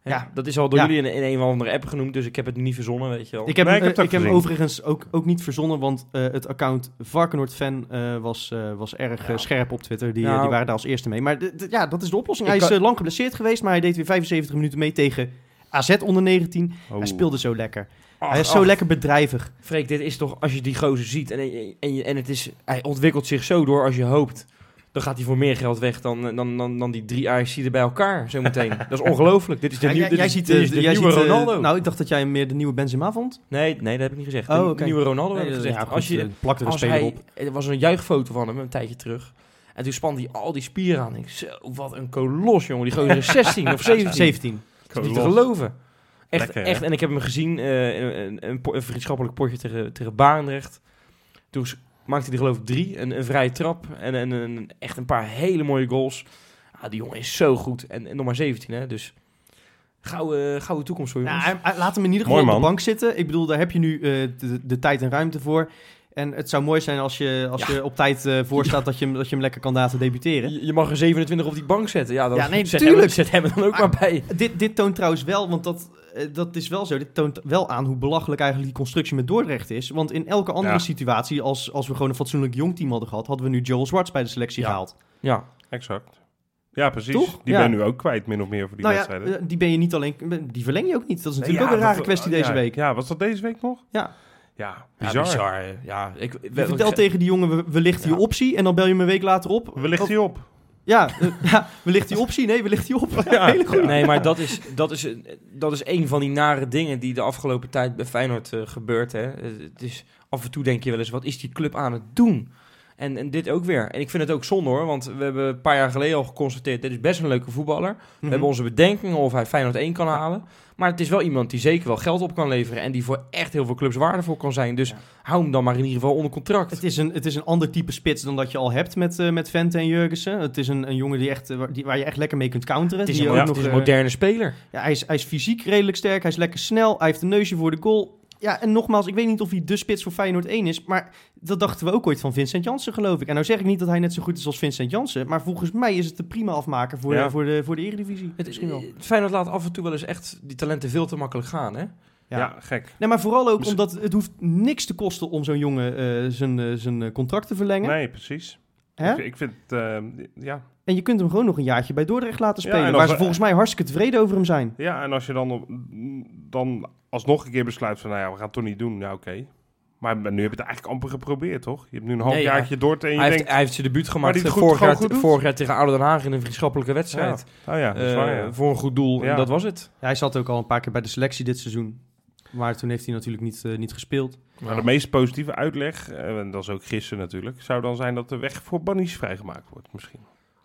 S3: Hè,
S2: Ja.
S3: Dat is al door
S2: Ja.
S3: jullie in, in een of andere app genoemd, dus ik heb het niet verzonnen, weet je wel.
S2: Ik heb,
S1: Nee, ik
S2: hem,
S1: heb het
S2: eh,
S1: ook
S2: ik heb hem
S1: gezien.
S2: overigens ook, ook niet verzonnen, want eh, het account Varkenoord Fan eh, was, eh, was erg eh,
S1: Ja.
S2: scherp op Twitter. Die, eh,
S3: Nou.
S2: die waren daar als eerste mee. Maar d- d- ja, dat is de oplossing.
S3: Ik
S2: Hij is
S3: kan-
S2: eh, lang geblesseerd geweest, maar hij deed weer 75 minuten mee tegen AZ onder 19. Hij speelde zo lekker.
S3: Oh. Ach,
S2: hij is
S3: ach,
S2: zo lekker bedrijvig.
S3: Freek, dit is toch, als je die gozer ziet en, en, en, je- en het is, hij ontwikkelt zich zo door als je hoopt. Dan gaat hij voor meer geld weg dan, dan, dan, dan die drie AFC'en bij elkaar zometeen.
S2: [LAUGHS]
S3: Dat is ongelooflijk. Dit is de,
S2: Ja,
S3: nieuw-
S2: jij-
S3: dit
S2: jij
S3: is-
S2: ziet,
S3: dit
S2: eh,
S3: is de
S2: jij
S3: nieuwe
S2: ziet, eh,
S3: Ronaldo.
S2: Nou, ik dacht dat jij hem meer de nieuwe Benzema vond.
S3: Nee, nee, dat heb ik niet gezegd.
S2: Oh,
S3: De
S2: oké.
S3: Nieuwe Ronaldo heb
S2: Nee,
S3: ik
S2: dat-
S3: gezegd.
S2: ja, goed,
S3: als je,
S2: eh, plakte de
S3: als
S2: speler
S3: hij,
S2: op.
S3: Er was een juichfoto van hem een tijdje terug. En toen spande hij al die spieren aan. Ik denk, zo, wat een kolos, jongen. Die
S2: [LAUGHS]
S3: gozer is 16 of 17.
S2: 17.
S3: Dat is niet te geloven. Echt,
S1: Lekker, hè?
S3: echt. En ik heb hem gezien eh, in een, een, po- een vriendschappelijk potje tegen, tegen Baandrecht. Toen s- maakte hij er geloof ik drie. Een, een vrije trap en, en een, echt een paar hele mooie goals. Ah, die jongen is zo goed. En, en nog maar 17, hè. Dus gouden, gouden toekomst voor
S2: Nou,
S3: jongens.
S2: hij- hij- laat hem in ieder
S1: Mooi
S2: geval op de
S1: man.
S2: bank zitten. Ik bedoel, daar heb je nu eh, de, de tijd en ruimte voor. En het zou mooi zijn als je, als
S3: Ja.
S2: je op tijd eh, voor staat dat je, hem- dat je hem lekker kan laten debuteren.
S3: Je, je mag er 27 op die bank zetten. Ja, Ah. dan
S2: Ja, nee,
S3: [LAUGHS] zet, hem,
S2: tuurlijk.
S3: zet hem er dan ook maar, bij.
S2: Dit, dit toont trouwens wel, want dat, eh, dat is wel zo. Dit toont wel aan hoe belachelijk eigenlijk die constructie met Dordrecht is. Want in elke andere
S1: Ja.
S2: situatie, als, als we gewoon een fatsoenlijk jong team hadden gehad, hadden we nu Joel Zwarts bij de selectie
S1: Ja.
S2: gehaald.
S3: Ja,
S1: Exact. Ja, precies.
S2: Toch?
S1: Die
S2: Ja.
S1: ben je nu ook kwijt, min of meer, voor die
S2: nou ja,
S1: wedstrijden.
S2: eh, die ben je niet alleen. Die verleng je ook niet. Dat is natuurlijk
S1: Ja,
S2: ook een rare
S1: dat- oh,
S2: kwestie
S1: ja,
S2: deze week.
S1: Ja, was dat deze week nog?
S2: Ja.
S1: Ja,
S3: Ja,
S1: bizar.
S3: hè. Ja, ik, we-
S2: Je
S3: we-
S2: vertelt
S3: ik-
S2: tegen die jongen we- wellicht die
S3: Ja.
S2: optie. En dan bel je hem een week later op.
S1: Wellicht
S2: Of-
S1: hij op.
S2: Ja, eh, [LAUGHS] ja, wellicht die optie. Nee, wellicht die op.
S1: Ja.
S2: [LAUGHS] Hele goeie.
S3: Nee, maar dat is, dat, is, een- dat is een van die nare dingen die de afgelopen tijd bij Feyenoord eh, gebeurt. Hè. Eh, Het is, af en toe denk je wel eens, wat is die club aan het doen? En, en dit ook weer. En ik vind het ook zonde hoor, want we hebben een paar jaar geleden al geconstateerd... dit is best een leuke voetballer. We hebben onze bedenkingen of hij Feyenoord 1 kan halen. Maar het is wel iemand die zeker wel geld op kan leveren... en die voor echt heel veel clubs waardevol kan zijn. Dus
S2: Ja.
S3: hou hem dan maar in ieder geval onder contract.
S2: Het is, een, het is een ander type spits dan dat je al hebt met, eh, met Vente en Jurgensen. Het is een, een jongen die echt, eh, waar- die, waar je echt lekker mee kunt counteren.
S3: Het is
S2: die
S3: een,
S2: ook
S3: mo-
S2: nog,
S3: het is een
S2: eh,
S3: moderne speler.
S2: ja, hij, is, hij is fysiek redelijk sterk, hij is lekker snel, hij heeft een neusje voor de goal. Ja, en nogmaals, ik weet niet of hij de spits voor Feyenoord 1 is, maar dat dachten we ook ooit van Vincent Jansen, geloof ik. En nou zeg ik niet dat hij net zo goed is als Vincent Jansen, maar volgens mij is het de prima afmaker voor,
S1: Ja.
S2: de, voor, de, voor de Eredivisie.
S3: Het,
S2: Misschien wel.
S3: het Feyenoord laat af en toe wel eens echt die talenten veel te makkelijk gaan, hè?
S1: Ja,
S2: Ja.
S1: gek.
S2: Nee, maar vooral ook
S1: Misschien-
S2: omdat het hoeft niks te kosten om zo'n jongen eh, zijn, eh, zijn eh, contract te verlengen.
S1: Nee, precies.
S2: Hè?
S1: Ik, ik vind, eh, ja.
S2: En je kunt hem gewoon nog een jaartje bij Dordrecht laten
S1: Ja,
S2: spelen,
S1: en
S2: waar
S1: als
S2: ze
S1: we-
S2: volgens mij hartstikke tevreden over hem zijn.
S1: ja, en als je dan, op, dan alsnog een keer besluit van, nou ja, we gaan het toch niet doen. Ja, oké. Maar nu heb je het eigenlijk amper geprobeerd, toch? Je hebt nu een half
S3: Nee, ja.
S1: jaartje door te en je
S3: Hij heeft,
S1: denkt...
S3: hij heeft zijn debuut gemaakt
S1: die het
S3: eh,
S1: goed-
S3: vorig,
S1: gewoon
S3: jaar,
S1: goed doet.
S3: vorig jaar tegen Ado Den Haag in een vriendschappelijke
S1: ja.
S3: wedstrijd.
S1: Oh ja, dat is
S3: Eh,
S1: waar, ja.
S3: Voor een goed doel,
S1: Ja.
S3: en dat was het.
S2: Ja, hij zat ook al een paar keer bij de selectie dit seizoen, maar toen heeft hij natuurlijk niet, eh, niet gespeeld.
S1: Maar de meest positieve uitleg, eh, en dat is ook gisteren natuurlijk, zou dan zijn dat de weg voor Bannies vrijgemaakt wordt misschien.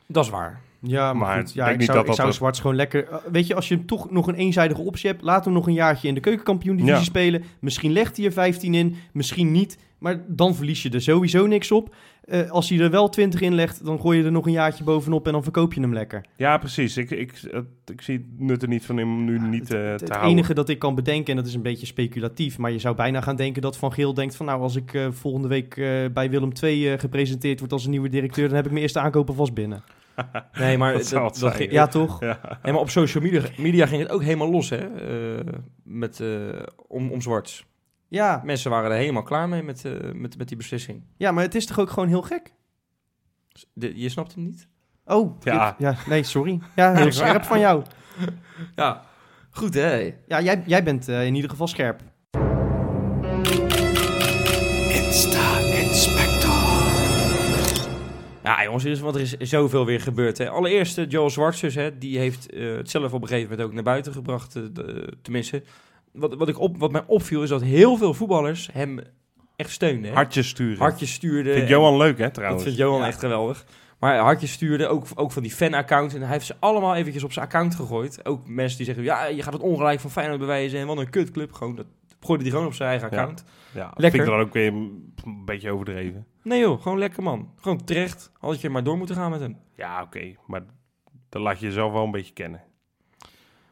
S3: Dat is waar.
S2: Ja, maar,
S1: Maar
S2: goed.
S1: ik
S2: Ja,
S1: denk
S2: ik
S1: niet
S2: zou,
S1: dat
S2: ik
S1: dat
S2: zou
S1: er-
S2: Zwarts gewoon lekker... eh, Weet je, als je hem toch nog een eenzijdige optie hebt... laat hem nog een jaartje in de keukenkampioen-divisie
S1: Ja.
S2: spelen. Misschien legt hij er 15 in, misschien niet. Maar dan verlies je er sowieso niks op. Eh, als hij er wel 20 in legt, dan gooi je er nog een jaartje bovenop... en dan verkoop je hem lekker.
S1: Ja, precies. Ik, ik, het- ik zie het nut er niet van hem nu niet eh, te
S2: Het
S1: houden.
S2: enige dat ik kan bedenken, en dat is een beetje speculatief... maar je zou bijna gaan denken dat Van Geel denkt van... nou, als ik eh, volgende week eh, bij Willem II eh, gepresenteerd word als een nieuwe directeur... dan heb ik mijn eerste aankopen vast binnen.
S3: [LAUGHS] Nee, maar,
S1: Dat
S3: dat,
S1: zou het
S3: dat
S1: zijn.
S3: ging-
S2: Ja, toch?
S3: nee, maar op social media, media ging het ook helemaal los, hè? eh, met, eh, om, om Zwarts.
S2: Ja,
S3: Mensen waren er helemaal klaar mee met, eh, met, met die beslissing.
S2: ja, maar het is toch ook gewoon heel gek?
S3: De- je snapt hem niet?
S2: Oh,
S1: Ja.
S2: dit- ja. Nee, sorry. Ja, heel scherp van jou.
S3: Ja. Goed, hè?
S2: Ja, jij, jij bent eh, in ieder geval scherp.
S3: Ja, jongens, er is- want er is zoveel weer gebeurd. Hè. Allereerst, eh, Joel Zwarts, dus, hè, die heeft eh, het zelf op een gegeven moment ook naar buiten gebracht. eh, de- tenminste, wat, wat, ik op, wat mij opviel is dat heel veel voetballers hem echt steunden. hè.
S1: Hartjes sturen.
S3: Hartjes stuurden.
S1: Vindt
S3: en-
S1: Johan leuk, hè,
S3: dat
S1: trouwens?
S3: vindt Johan
S1: Ja.
S3: echt geweldig. Maar hartjes stuurde, ook, ook van die fan-account. En hij heeft ze allemaal eventjes op zijn account gegooid. Ook mensen die zeggen, ja, je gaat het ongelijk van Feyenoord bewijzen. En wat een kutclub. Gewoon, dat gooide die gewoon op zijn eigen
S1: Ja.
S3: account.
S1: Ja, dat
S3: Lekker.
S1: vind ik dan ook weer een een beetje overdreven.
S3: Nee joh, gewoon lekker man. Gewoon terecht. Had je maar door moeten gaan met hem.
S1: Ja, oké. Maar dan laat je jezelf wel een beetje kennen. Dat,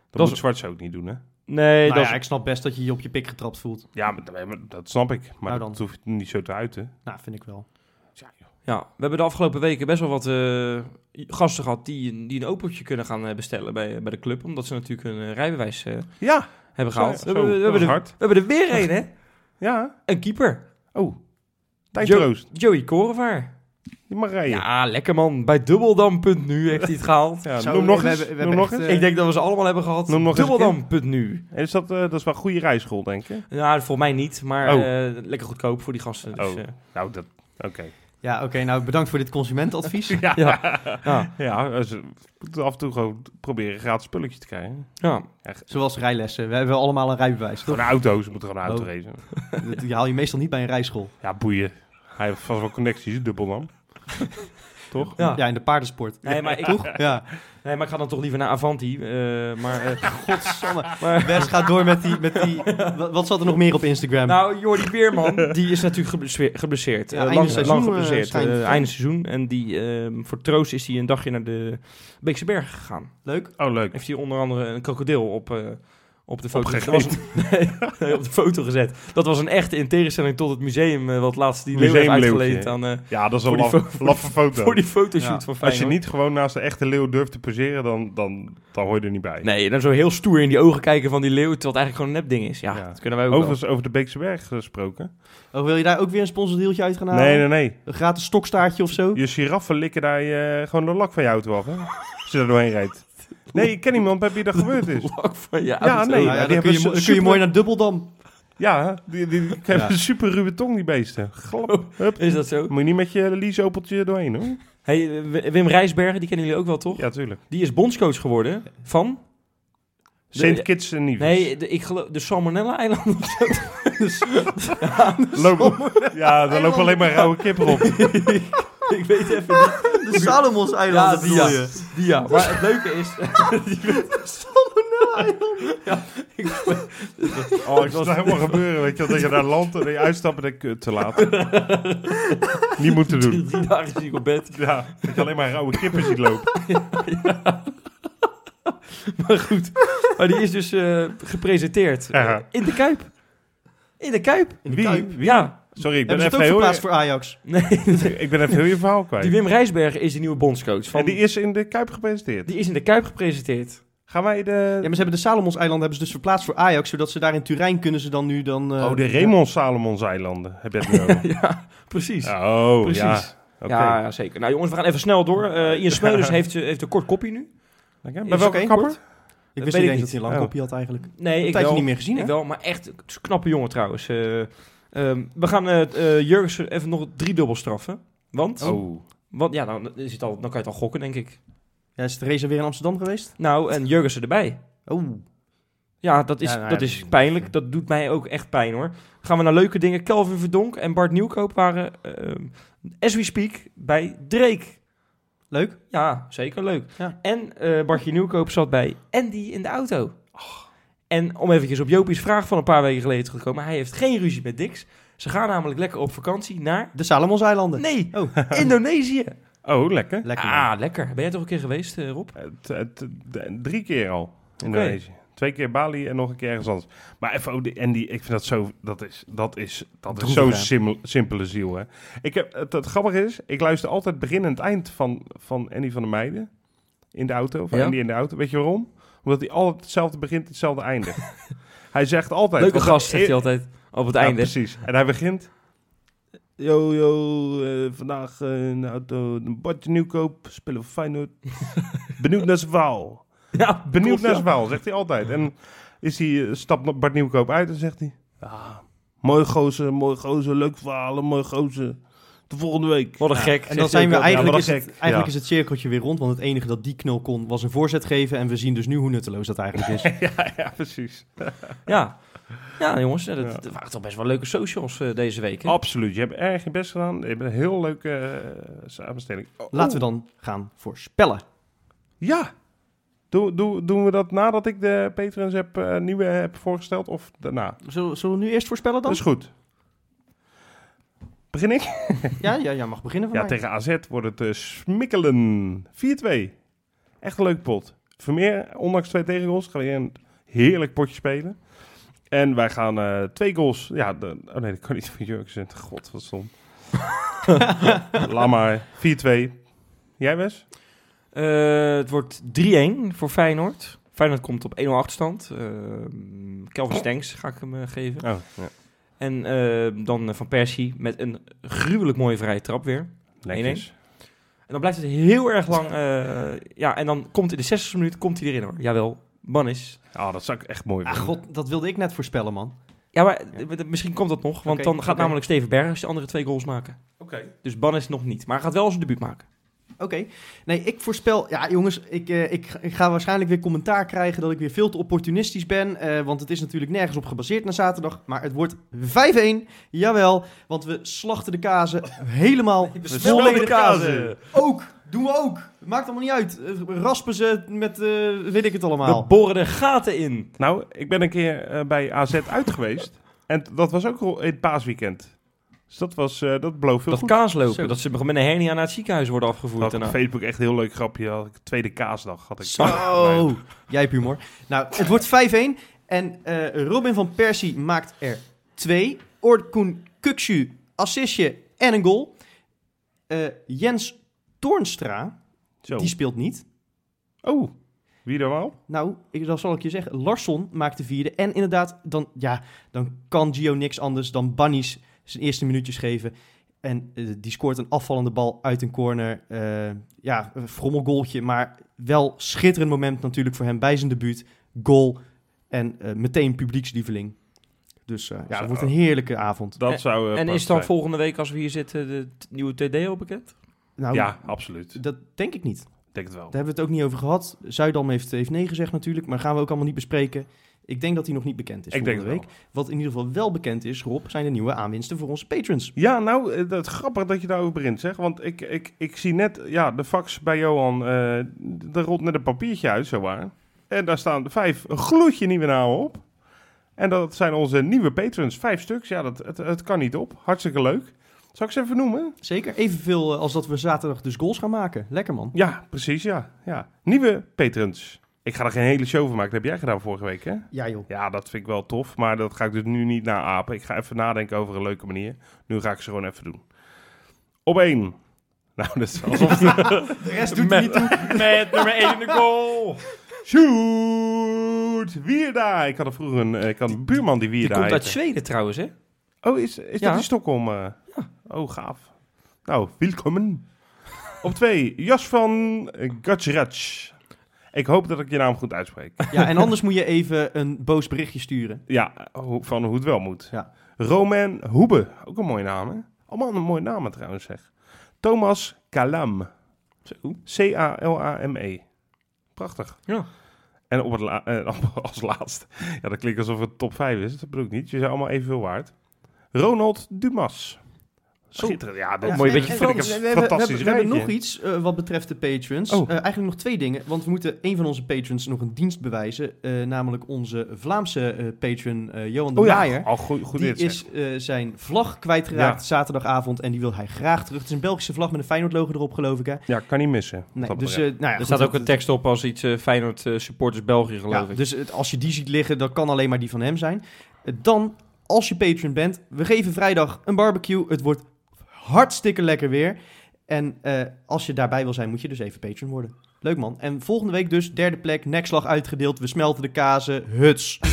S3: Dat is-
S1: moet Zwarts ook niet doen, hè?
S3: Nee,
S2: nou
S3: dat
S2: ja, ik snap best dat je je op je pik getrapt voelt.
S1: Ja, maar, nee, maar dat snap ik. Maar
S2: Nou dan.
S1: dat hoef je niet zo te uiten.
S2: Nou, vind ik wel.
S3: Ja, we hebben de afgelopen weken best wel wat eh, gasten gehad die, een- die een opeltje kunnen gaan eh, bestellen bij, bij de club. Omdat ze natuurlijk hun eh, rijbewijs eh,
S1: Ja,
S3: hebben
S1: Zo,
S3: gehaald.
S1: zo,
S3: we, hebben, we,
S1: dat
S3: hebben
S1: was
S3: er,
S1: hard.
S3: we hebben er weer een, hè?
S1: ja.
S3: Een keeper.
S1: Oh,
S3: Jo-
S1: tijdroost.
S3: Joey Korevaar.
S1: Je mag rijden. Ja,
S3: Ja, lekker man. Bij Dubbeldam.nu heeft hij het gehaald. [LAUGHS]
S2: Zo,
S1: noem nog
S2: we
S1: eens.
S2: hebben- we
S1: noem
S2: hebben
S1: nog
S2: echt,
S1: eens.
S2: eh,
S3: Ik denk dat we ze allemaal hebben gehad.
S1: Noem nog eens een keer.
S3: Dubbeldam.nu.
S1: En Is dat, eh, dat is wel een goede rijschool, denk ik.
S3: Nou, voor mij niet, maar
S1: Oh.
S3: eh, lekker goedkoop voor die gasten. Dus,
S1: Oh.
S3: eh,
S1: Nou, dat... Oké.
S2: Ja, oké, nou bedankt voor dit consumentenadvies.
S1: Ja.
S3: Ja.
S1: Ja.
S3: ja,
S1: ze moeten af en toe gewoon proberen een gratis spulletje te krijgen.
S3: ja.
S2: Zoals rijlessen. We hebben allemaal een rijbewijs, toch?
S1: Gewoon auto's, ze moeten gewoon een auto
S2: Oh.
S1: racen.
S2: Dat- Die haal je meestal niet bij een rijschool.
S1: Ja, boeien. Hij heeft vast wel connecties, dubbelnam. Toch?
S3: Ja.
S2: Ja, in de paardensport.
S3: Nee, maar ik,
S2: Toch? Ja.
S3: nee, maar ik ga dan toch liever naar Avanti. eh, maar, eh,
S2: Godsamme.
S3: maar,
S2: Wes gaat door met die, met die... Wat wat zat er nog meer op
S1: Ehm,
S2: Instagram?
S3: nou, Jordi Beerman,
S1: [LAUGHS]
S3: die is natuurlijk geblesseer- geblesseerd.
S2: Ja,
S3: Eh,
S2: einde
S3: lang,
S2: seizoen,
S3: lang
S2: eh,
S3: geblesseerd.
S2: schijnt.
S3: eh, einde seizoen. En die, ehm, voor troost is hij een dagje naar de Beekse Berg gegaan.
S2: Leuk.
S1: Oh, leuk.
S3: Heeft hij onder andere een krokodil op... eh, op de, foto gezet. [LAUGHS]
S1: Opgegeten.
S3: Dat was een- nee, nee, op de foto gezet. Dat was een echte in tegenstelling tot het museum eh, wat laatst die leeuw heeft
S1: Museumleeuwtje.
S3: uitgeleend aan, eh,
S1: [LAUGHS] Ja, dat is
S3: Voor
S1: een
S3: die
S1: laf-
S3: fo-
S1: laffe foto.
S3: voor die fotoshoot
S2: Ja.
S3: van Feyenoord.
S1: Als je niet gewoon naast de echte leeuw durft te poseren, dan, dan, dan hoor je er niet bij.
S3: Nee, dan zo heel stoer in die ogen kijken van die leeuw, terwijl het eigenlijk gewoon een nepding is. Ja,
S1: Ja.
S3: dat kunnen wij ook
S1: Overigens over de Beekse Berg gesproken.
S2: Oh, wil je daar ook weer een sponsordeeltje uit gaan halen?
S1: Nee, nee, nee.
S2: Een gratis stokstaartje of zo? Nou
S1: Je giraffen likken daar eh, gewoon de lak van je auto af, hè? Als je daar doorheen rijdt. Nee, ik ken iemand bij wie dat gebeurd is.
S3: wel. Lak van je
S1: Ja,
S3: auto.
S1: nee.
S2: Nou ja,
S1: maar die
S2: dan, kun
S1: hebben
S2: je,
S1: zo-
S2: dan kun je
S1: super-
S2: mooi naar Dubbeldam.
S1: Ja, die, die, die hebben een super ruwe tong, die beesten. Glap. Hup.
S3: Is dat zo?
S1: Moet je niet met je leaseopeltje doorheen, hoor.
S3: Hey, eh, Wi- Wim Rijsbergen, die kennen jullie ook wel, toch?
S1: Ja, tuurlijk.
S3: Die is bondscoach geworden van...
S1: Sint
S3: De-
S1: Kitts en Nevis. [LAUGHS]
S3: Nee, de, ik geloof, de Salmonella-eilanden. of zo.
S1: Lopen- ja, daar lopen alleen maar rauwe kippen op.
S3: ik weet even niet.
S2: De Salomons-eilanden
S3: Ja, die ja.
S2: bedoel je?
S3: Die ja, maar het leuke is...
S1: Oh, ik was helemaal gebeuren, weet je, wel, dat je daar landt en dat je uitstapt en denk je, "Kut, te laat. Niet moeten doen.
S3: Drie dagen zie ik op bed.
S1: Ja, dat je alleen maar rauwe kippen ziet lopen.
S3: Maar goed. Maar die is dus eh, gepresenteerd.
S1: Ja.
S3: In de Kuip. In de Kuip.
S2: In de
S1: Wie?
S2: Kuip.
S1: Wie?
S3: Ja.
S1: Sorry, ik ben,
S2: Hebben ze
S1: even
S2: het
S1: heel,
S2: ook verplaatst voor Ajax?
S3: Nee,
S1: [LAUGHS] ik ben even heel je verhaal kwijt.
S3: die Wim Rijsberg is de nieuwe bondscoach. Van,
S1: En die is in de Kuip gepresenteerd.
S3: die is in de Kuip gepresenteerd.
S1: Gaan wij
S2: Ja,
S1: de...
S2: maar ze hebben de Salomonseilanden hebben ze dus verplaatst voor Ajax, zodat ze daar in Turijn kunnen ze dan nu dan... eh,
S1: oh, de Raymond Salomons eilanden. Heb je het nu over?
S3: ja, precies.
S1: Oh,
S3: Precies.
S1: ja. Oké.
S3: Ja, ja, zeker. Nou jongens, we gaan even snel door. Eh Ian Smeulers heeft, eh, heeft een kort kopje nu.
S1: Oké,
S3: Is
S1: Bij welke
S2: oké,
S1: kapper?
S2: kort. Ik
S3: weet
S2: wist
S3: ik
S2: niet eens
S3: niet.
S2: dat hij een lang
S1: Oh.
S2: kopje had eigenlijk. Een
S3: Nee, ik
S2: tijdje
S3: wel.
S2: niet meer gezien, hè?
S3: Ik wel, maar echt het is een knappe jongen trouwens. Eh, ehm, we gaan eh eh, Jurgensen even nog drie dubbel straffen. Want,
S1: Oh.
S3: want ja, nou, dan, is het al, dan kan je het al gokken, denk ik.
S2: Ja, is Theresa weer in Amsterdam geweest?
S3: Nou, en Jurgensen erbij.
S2: Oh,
S3: Ja, dat is,
S2: Ja, nou,
S3: dat
S2: ja,
S3: is
S2: dat-
S3: pijnlijk. Dat doet mij ook echt pijn hoor. Gaan we naar leuke dingen. Kelvin Verdonk en Bart Nieuwkoop waren, ehm, as we speak, bij Drake.
S2: leuk.
S3: Ja, zeker leuk.
S2: Ja.
S3: En eh Bartje Nieuwkoop zat bij Andy in de auto. En om eventjes op Jopie's vraag van een paar weken geleden terug te komen. Hij heeft geen ruzie met Dix. Ze gaan namelijk lekker op vakantie naar...
S2: De Salomonseilanden.
S3: Nee,
S2: Oh, [LAUGHS]
S3: Indonesië.
S1: Oh, lekker.
S2: lekker. man. Oh,
S3: ah, lekker. Ben jij toch een keer geweest, eh, Rob?
S1: Het- het- d- drie keer al in Indonesië. Twee keer Bali en nog een keer ergens anders. Maar even over die Andy, ik vind dat zo... Dat is, dat is, dat is
S2: Droevig,
S1: zo'n
S2: hè?
S1: sim- simpele ziel, hè. Ik heb, het, het grappige is, ik luister altijd begin en het eind van, van Andy van der Meijden. In de auto, van
S3: Ja.
S1: Andy in de auto. Weet je waarom? Omdat hij altijd hetzelfde begint, hetzelfde
S3: [LAUGHS]
S1: eindigt. hij zegt altijd... e-
S3: Leuke
S1: want-
S3: gast, zegt hij altijd op het
S1: Ja,
S3: einde.
S1: precies. En hij begint... Yo, yo, eh, vandaag eh, in de auto een badje nieuwkoop, spelen voor Feyenoord. [LAUGHS] Benieuwd naar zijn verhaal.
S3: Ja,
S1: Benieuwd
S3: klopt,
S1: naar
S3: ja.
S1: zijn verhaal, zegt hij altijd. En is hij, eh, stapt Bart Nieuwkoop uit en zegt hij... Ah, mooi gozer, mooi gozer, leuk verhalen, mooi gozer. De volgende week.
S3: Wat een gek.
S2: En
S3: zegt
S2: dan
S3: hij
S2: zijn
S3: ook
S2: we
S3: altijd.
S2: eigenlijk,
S1: wat
S2: is
S1: een
S2: het,
S1: gek.
S2: eigenlijk
S1: Ja.
S2: is het cirkeltje weer rond, want het enige dat die knul kon was een voorzet geven. En we zien dus nu hoe nutteloos dat eigenlijk is.
S1: [LAUGHS]
S2: [LAUGHS]
S1: ja, ja, precies.
S3: Ja, ja jongens. eh, Dat,
S1: Ja.
S3: dat waren toch best wel leuke socials eh, deze week. hè?
S1: Absoluut, je hebt erg je best gedaan. Je hebt een heel leuke eh, samenstelling. Oh,
S2: Laten we dan gaan voorspellen.
S1: Ja! Doe, doe, doen we dat nadat ik de patrons heb, eh, nieuwe heb voorgesteld of daarna?
S2: Zullen, zullen we nu eerst voorspellen dan?
S1: Dat is goed. Begin ik?
S2: Ja, ja, ja, mag beginnen van
S1: Ja,
S2: mij.
S1: tegen AZ wordt het eh, smikkelen. 4-2. Echt een leuk pot. Vermeer, ondanks twee tegengoals, gaan we weer een heerlijk potje spelen. En wij gaan eh, twee goals... Ja, de- oh nee, dat kan niet van Jurgensen. God, wat
S2: [LAUGHS]
S1: stom. Laat maar. 4-2. Jij, Wes?
S3: Eh, het wordt 3-1 voor Feyenoord. Feyenoord komt op 1-0 achterstand. Ehm
S2: Oh.
S3: Kelvin Stenks ga ik hem eh, geven.
S1: Oh, ja.
S3: En eh, dan eh, Van Persie met een gruwelijk mooie vrije trap weer.
S1: Netjes.
S3: En dan blijft het heel erg lang. eh, ja, en dan komt in de 60 minuut komt hij erin hoor. Jawel, Bannis.
S1: Ah, dat zou ik echt mooi
S2: Ah,
S1: vinden.
S2: god, dat wilde ik net voorspellen, man.
S3: Ja, maar eh, d- misschien komt dat nog. Want
S2: Oké,
S3: dan gaat
S2: oké.
S3: namelijk Steven Bergers de andere twee goals maken.
S1: Oké.
S3: Dus Bannis nog niet. Maar hij gaat wel zijn debuut maken.
S2: Oké. Nee, ik voorspel... Ja, jongens, ik, eh, ik, ga- ik ga waarschijnlijk weer commentaar krijgen dat ik weer veel te opportunistisch ben. eh, want het is natuurlijk nergens op gebaseerd na zaterdag. Maar het wordt 5-1. Jawel, want we slachten de kazen helemaal
S1: smullen de
S2: volledig. Ook, doen we ook. Maakt allemaal niet uit. Eh, Raspen ze met, eh, weet ik het
S3: We
S2: allemaal.
S3: boren de gaten in.
S1: Nou, ik ben een keer eh, bij AZ uit geweest. En t- dat was ook ro- in het paasweekend. Dus dat, was, eh, dat beloof veel
S3: dat
S1: goed.
S3: kaaslopen.
S2: Zo.
S3: Dat ze met een hernia naar het ziekenhuis worden afgevoerd.
S1: Had ik op
S3: daarna.
S1: Facebook echt een heel leuk grapje. Had ik tweede kaasdag. Had ik.
S2: Zo, jij hebt humor. Nou, het wordt 5-1. En eh, Robin van Persie maakt er twee. Orkun Kuksu, assistje en een goal. Eh, Jens Toornstra,
S1: Zo.
S2: die speelt niet.
S1: Oh, wie dan wel?
S2: Nou, ik, dat zal ik je zeggen. Larsson maakt de vierde. En inderdaad, dan, ja, dan kan Gio niks anders dan Bunnies zijn eerste minuutjes geven. En eh, die scoort een afvallende bal uit een corner. Eh, ja, een frommelgoaltje, maar wel schitterend moment natuurlijk voor hem bij zijn debuut. Goal en eh, meteen publiekslieveling. Dus eh, ja, het wordt een heerlijke avond.
S1: Dat
S3: En-
S1: zou. eh,
S3: En
S1: prachtig
S3: is dan
S1: zijn.
S3: volgende week, als we hier zitten, de t- nieuwe TD al bekend?
S2: Nou,
S1: Ja, absoluut. Ik
S2: dat denk ik niet.
S1: denk het wel.
S2: Daar hebben we het ook niet over gehad. Zuidam heeft, heeft nee gezegd natuurlijk, maar gaan we ook allemaal niet bespreken. Ik denk dat hij nog niet bekend is
S1: Ik denk
S2: volgende
S1: het
S2: week.
S1: wel.
S2: Wat in ieder geval wel bekend is, Rob, zijn de nieuwe aanwinsten voor onze patrons.
S1: Ja, nou, eh, dat is grappig dat je daarover begint, zeg. Want ik, ik, ik zie net, ja, de fax bij Johan, eh daar rolt net een papiertje uit, zo waar. En daar staan vijf gloedje nieuwe namen op. En dat zijn onze nieuwe patrons, vijf stuks. Ja, dat, het, het kan niet op. Hartstikke leuk. Zal ik ze even noemen?
S2: Zeker evenveel eh, als dat we zaterdag dus goals gaan maken. Lekker man.
S1: Ja, precies, ja. ja. Nieuwe patrons. Ik ga er geen hele show van maken. Dat heb jij gedaan vorige week, hè?
S2: Ja joh.
S1: Ja, dat vind ik wel tof. Maar dat ga ik dus nu niet naapen. Ik ga even nadenken over een leuke manier. Nu ga ik ze gewoon even doen. Op één. [LAUGHS] Nou, dat is alsof...
S2: De rest doet er niet toe.
S3: Met nummer 1 de goal.
S1: Shoot! Wierda! Ik had er vroeger een, eh, ik had een buurman die
S3: Die
S1: Wierda
S3: komt uit
S1: heette.
S3: Zweden trouwens, hè?
S1: Oh, is, is
S3: Ja.
S1: dat in Stockholm? eh? Oh, gaaf. Nou, welkom. Op twee, Jas van Gatjerach. Ik hoop dat ik je naam goed uitspreek.
S2: [LAUGHS] Ja, en anders moet je even een boos berichtje sturen.
S1: ja, ho- van Eh, hoe het wel moet.
S2: Ja.
S1: Roman Hoebe, ook een mooie naam, hè? Allemaal een mooie namen trouwens, zeg. Thomas Kalam. C-A-L-A-M-E. E. Prachtig.
S3: Ja.
S1: En op het la- eh, [LAUGHS] als laatst. Ja, dat klinkt alsof het top 5 is. Dat bedoel ik niet. Je zijn allemaal evenveel waard. Ronald Dumas. Schitterend. Ja, dat
S2: Ja,
S1: mooi
S2: nee,
S1: beetje
S2: en
S1: vind ik
S2: Frans,
S1: een
S2: we hebben-
S1: fantastisch
S2: We hebben, we hebben
S1: rijtje.
S2: nog iets eh, wat betreft de patrons.
S1: Oh.
S2: Eh, eigenlijk nog twee dingen. Want we moeten een van onze patrons nog een dienst bewijzen. eh, namelijk onze Vlaamse eh, patron eh, Johan de
S1: Oh
S2: Maaier.
S1: ja, al goed, goed
S2: die
S1: dit, zeg.
S2: is eh, zijn vlag kwijtgeraakt
S1: Ja.
S2: zaterdagavond en die wil hij graag terug. Het is een Belgische vlag met een Feyenoord logo erop, geloof ik. Hè?
S1: Ja, kan niet missen. wat
S2: Nee,
S1: dat
S2: dus,
S1: betreft.
S2: eh, nou ja,
S3: Er
S2: goed,
S3: staat ook
S2: dat-
S3: een tekst op als iets eh, Feyenoord eh, supporters België, geloof
S2: ja,
S3: ik.
S2: Dus het- als je die ziet liggen, dan kan alleen maar die van hem zijn. Eh, Dan, als je patron bent, we geven vrijdag een barbecue. Het wordt hartstikke lekker weer. En eh, als je daarbij wil zijn, moet je dus even patron worden. Leuk man. En volgende week dus, derde plek, nekslag uitgedeeld. We smelten de kazen. Huts.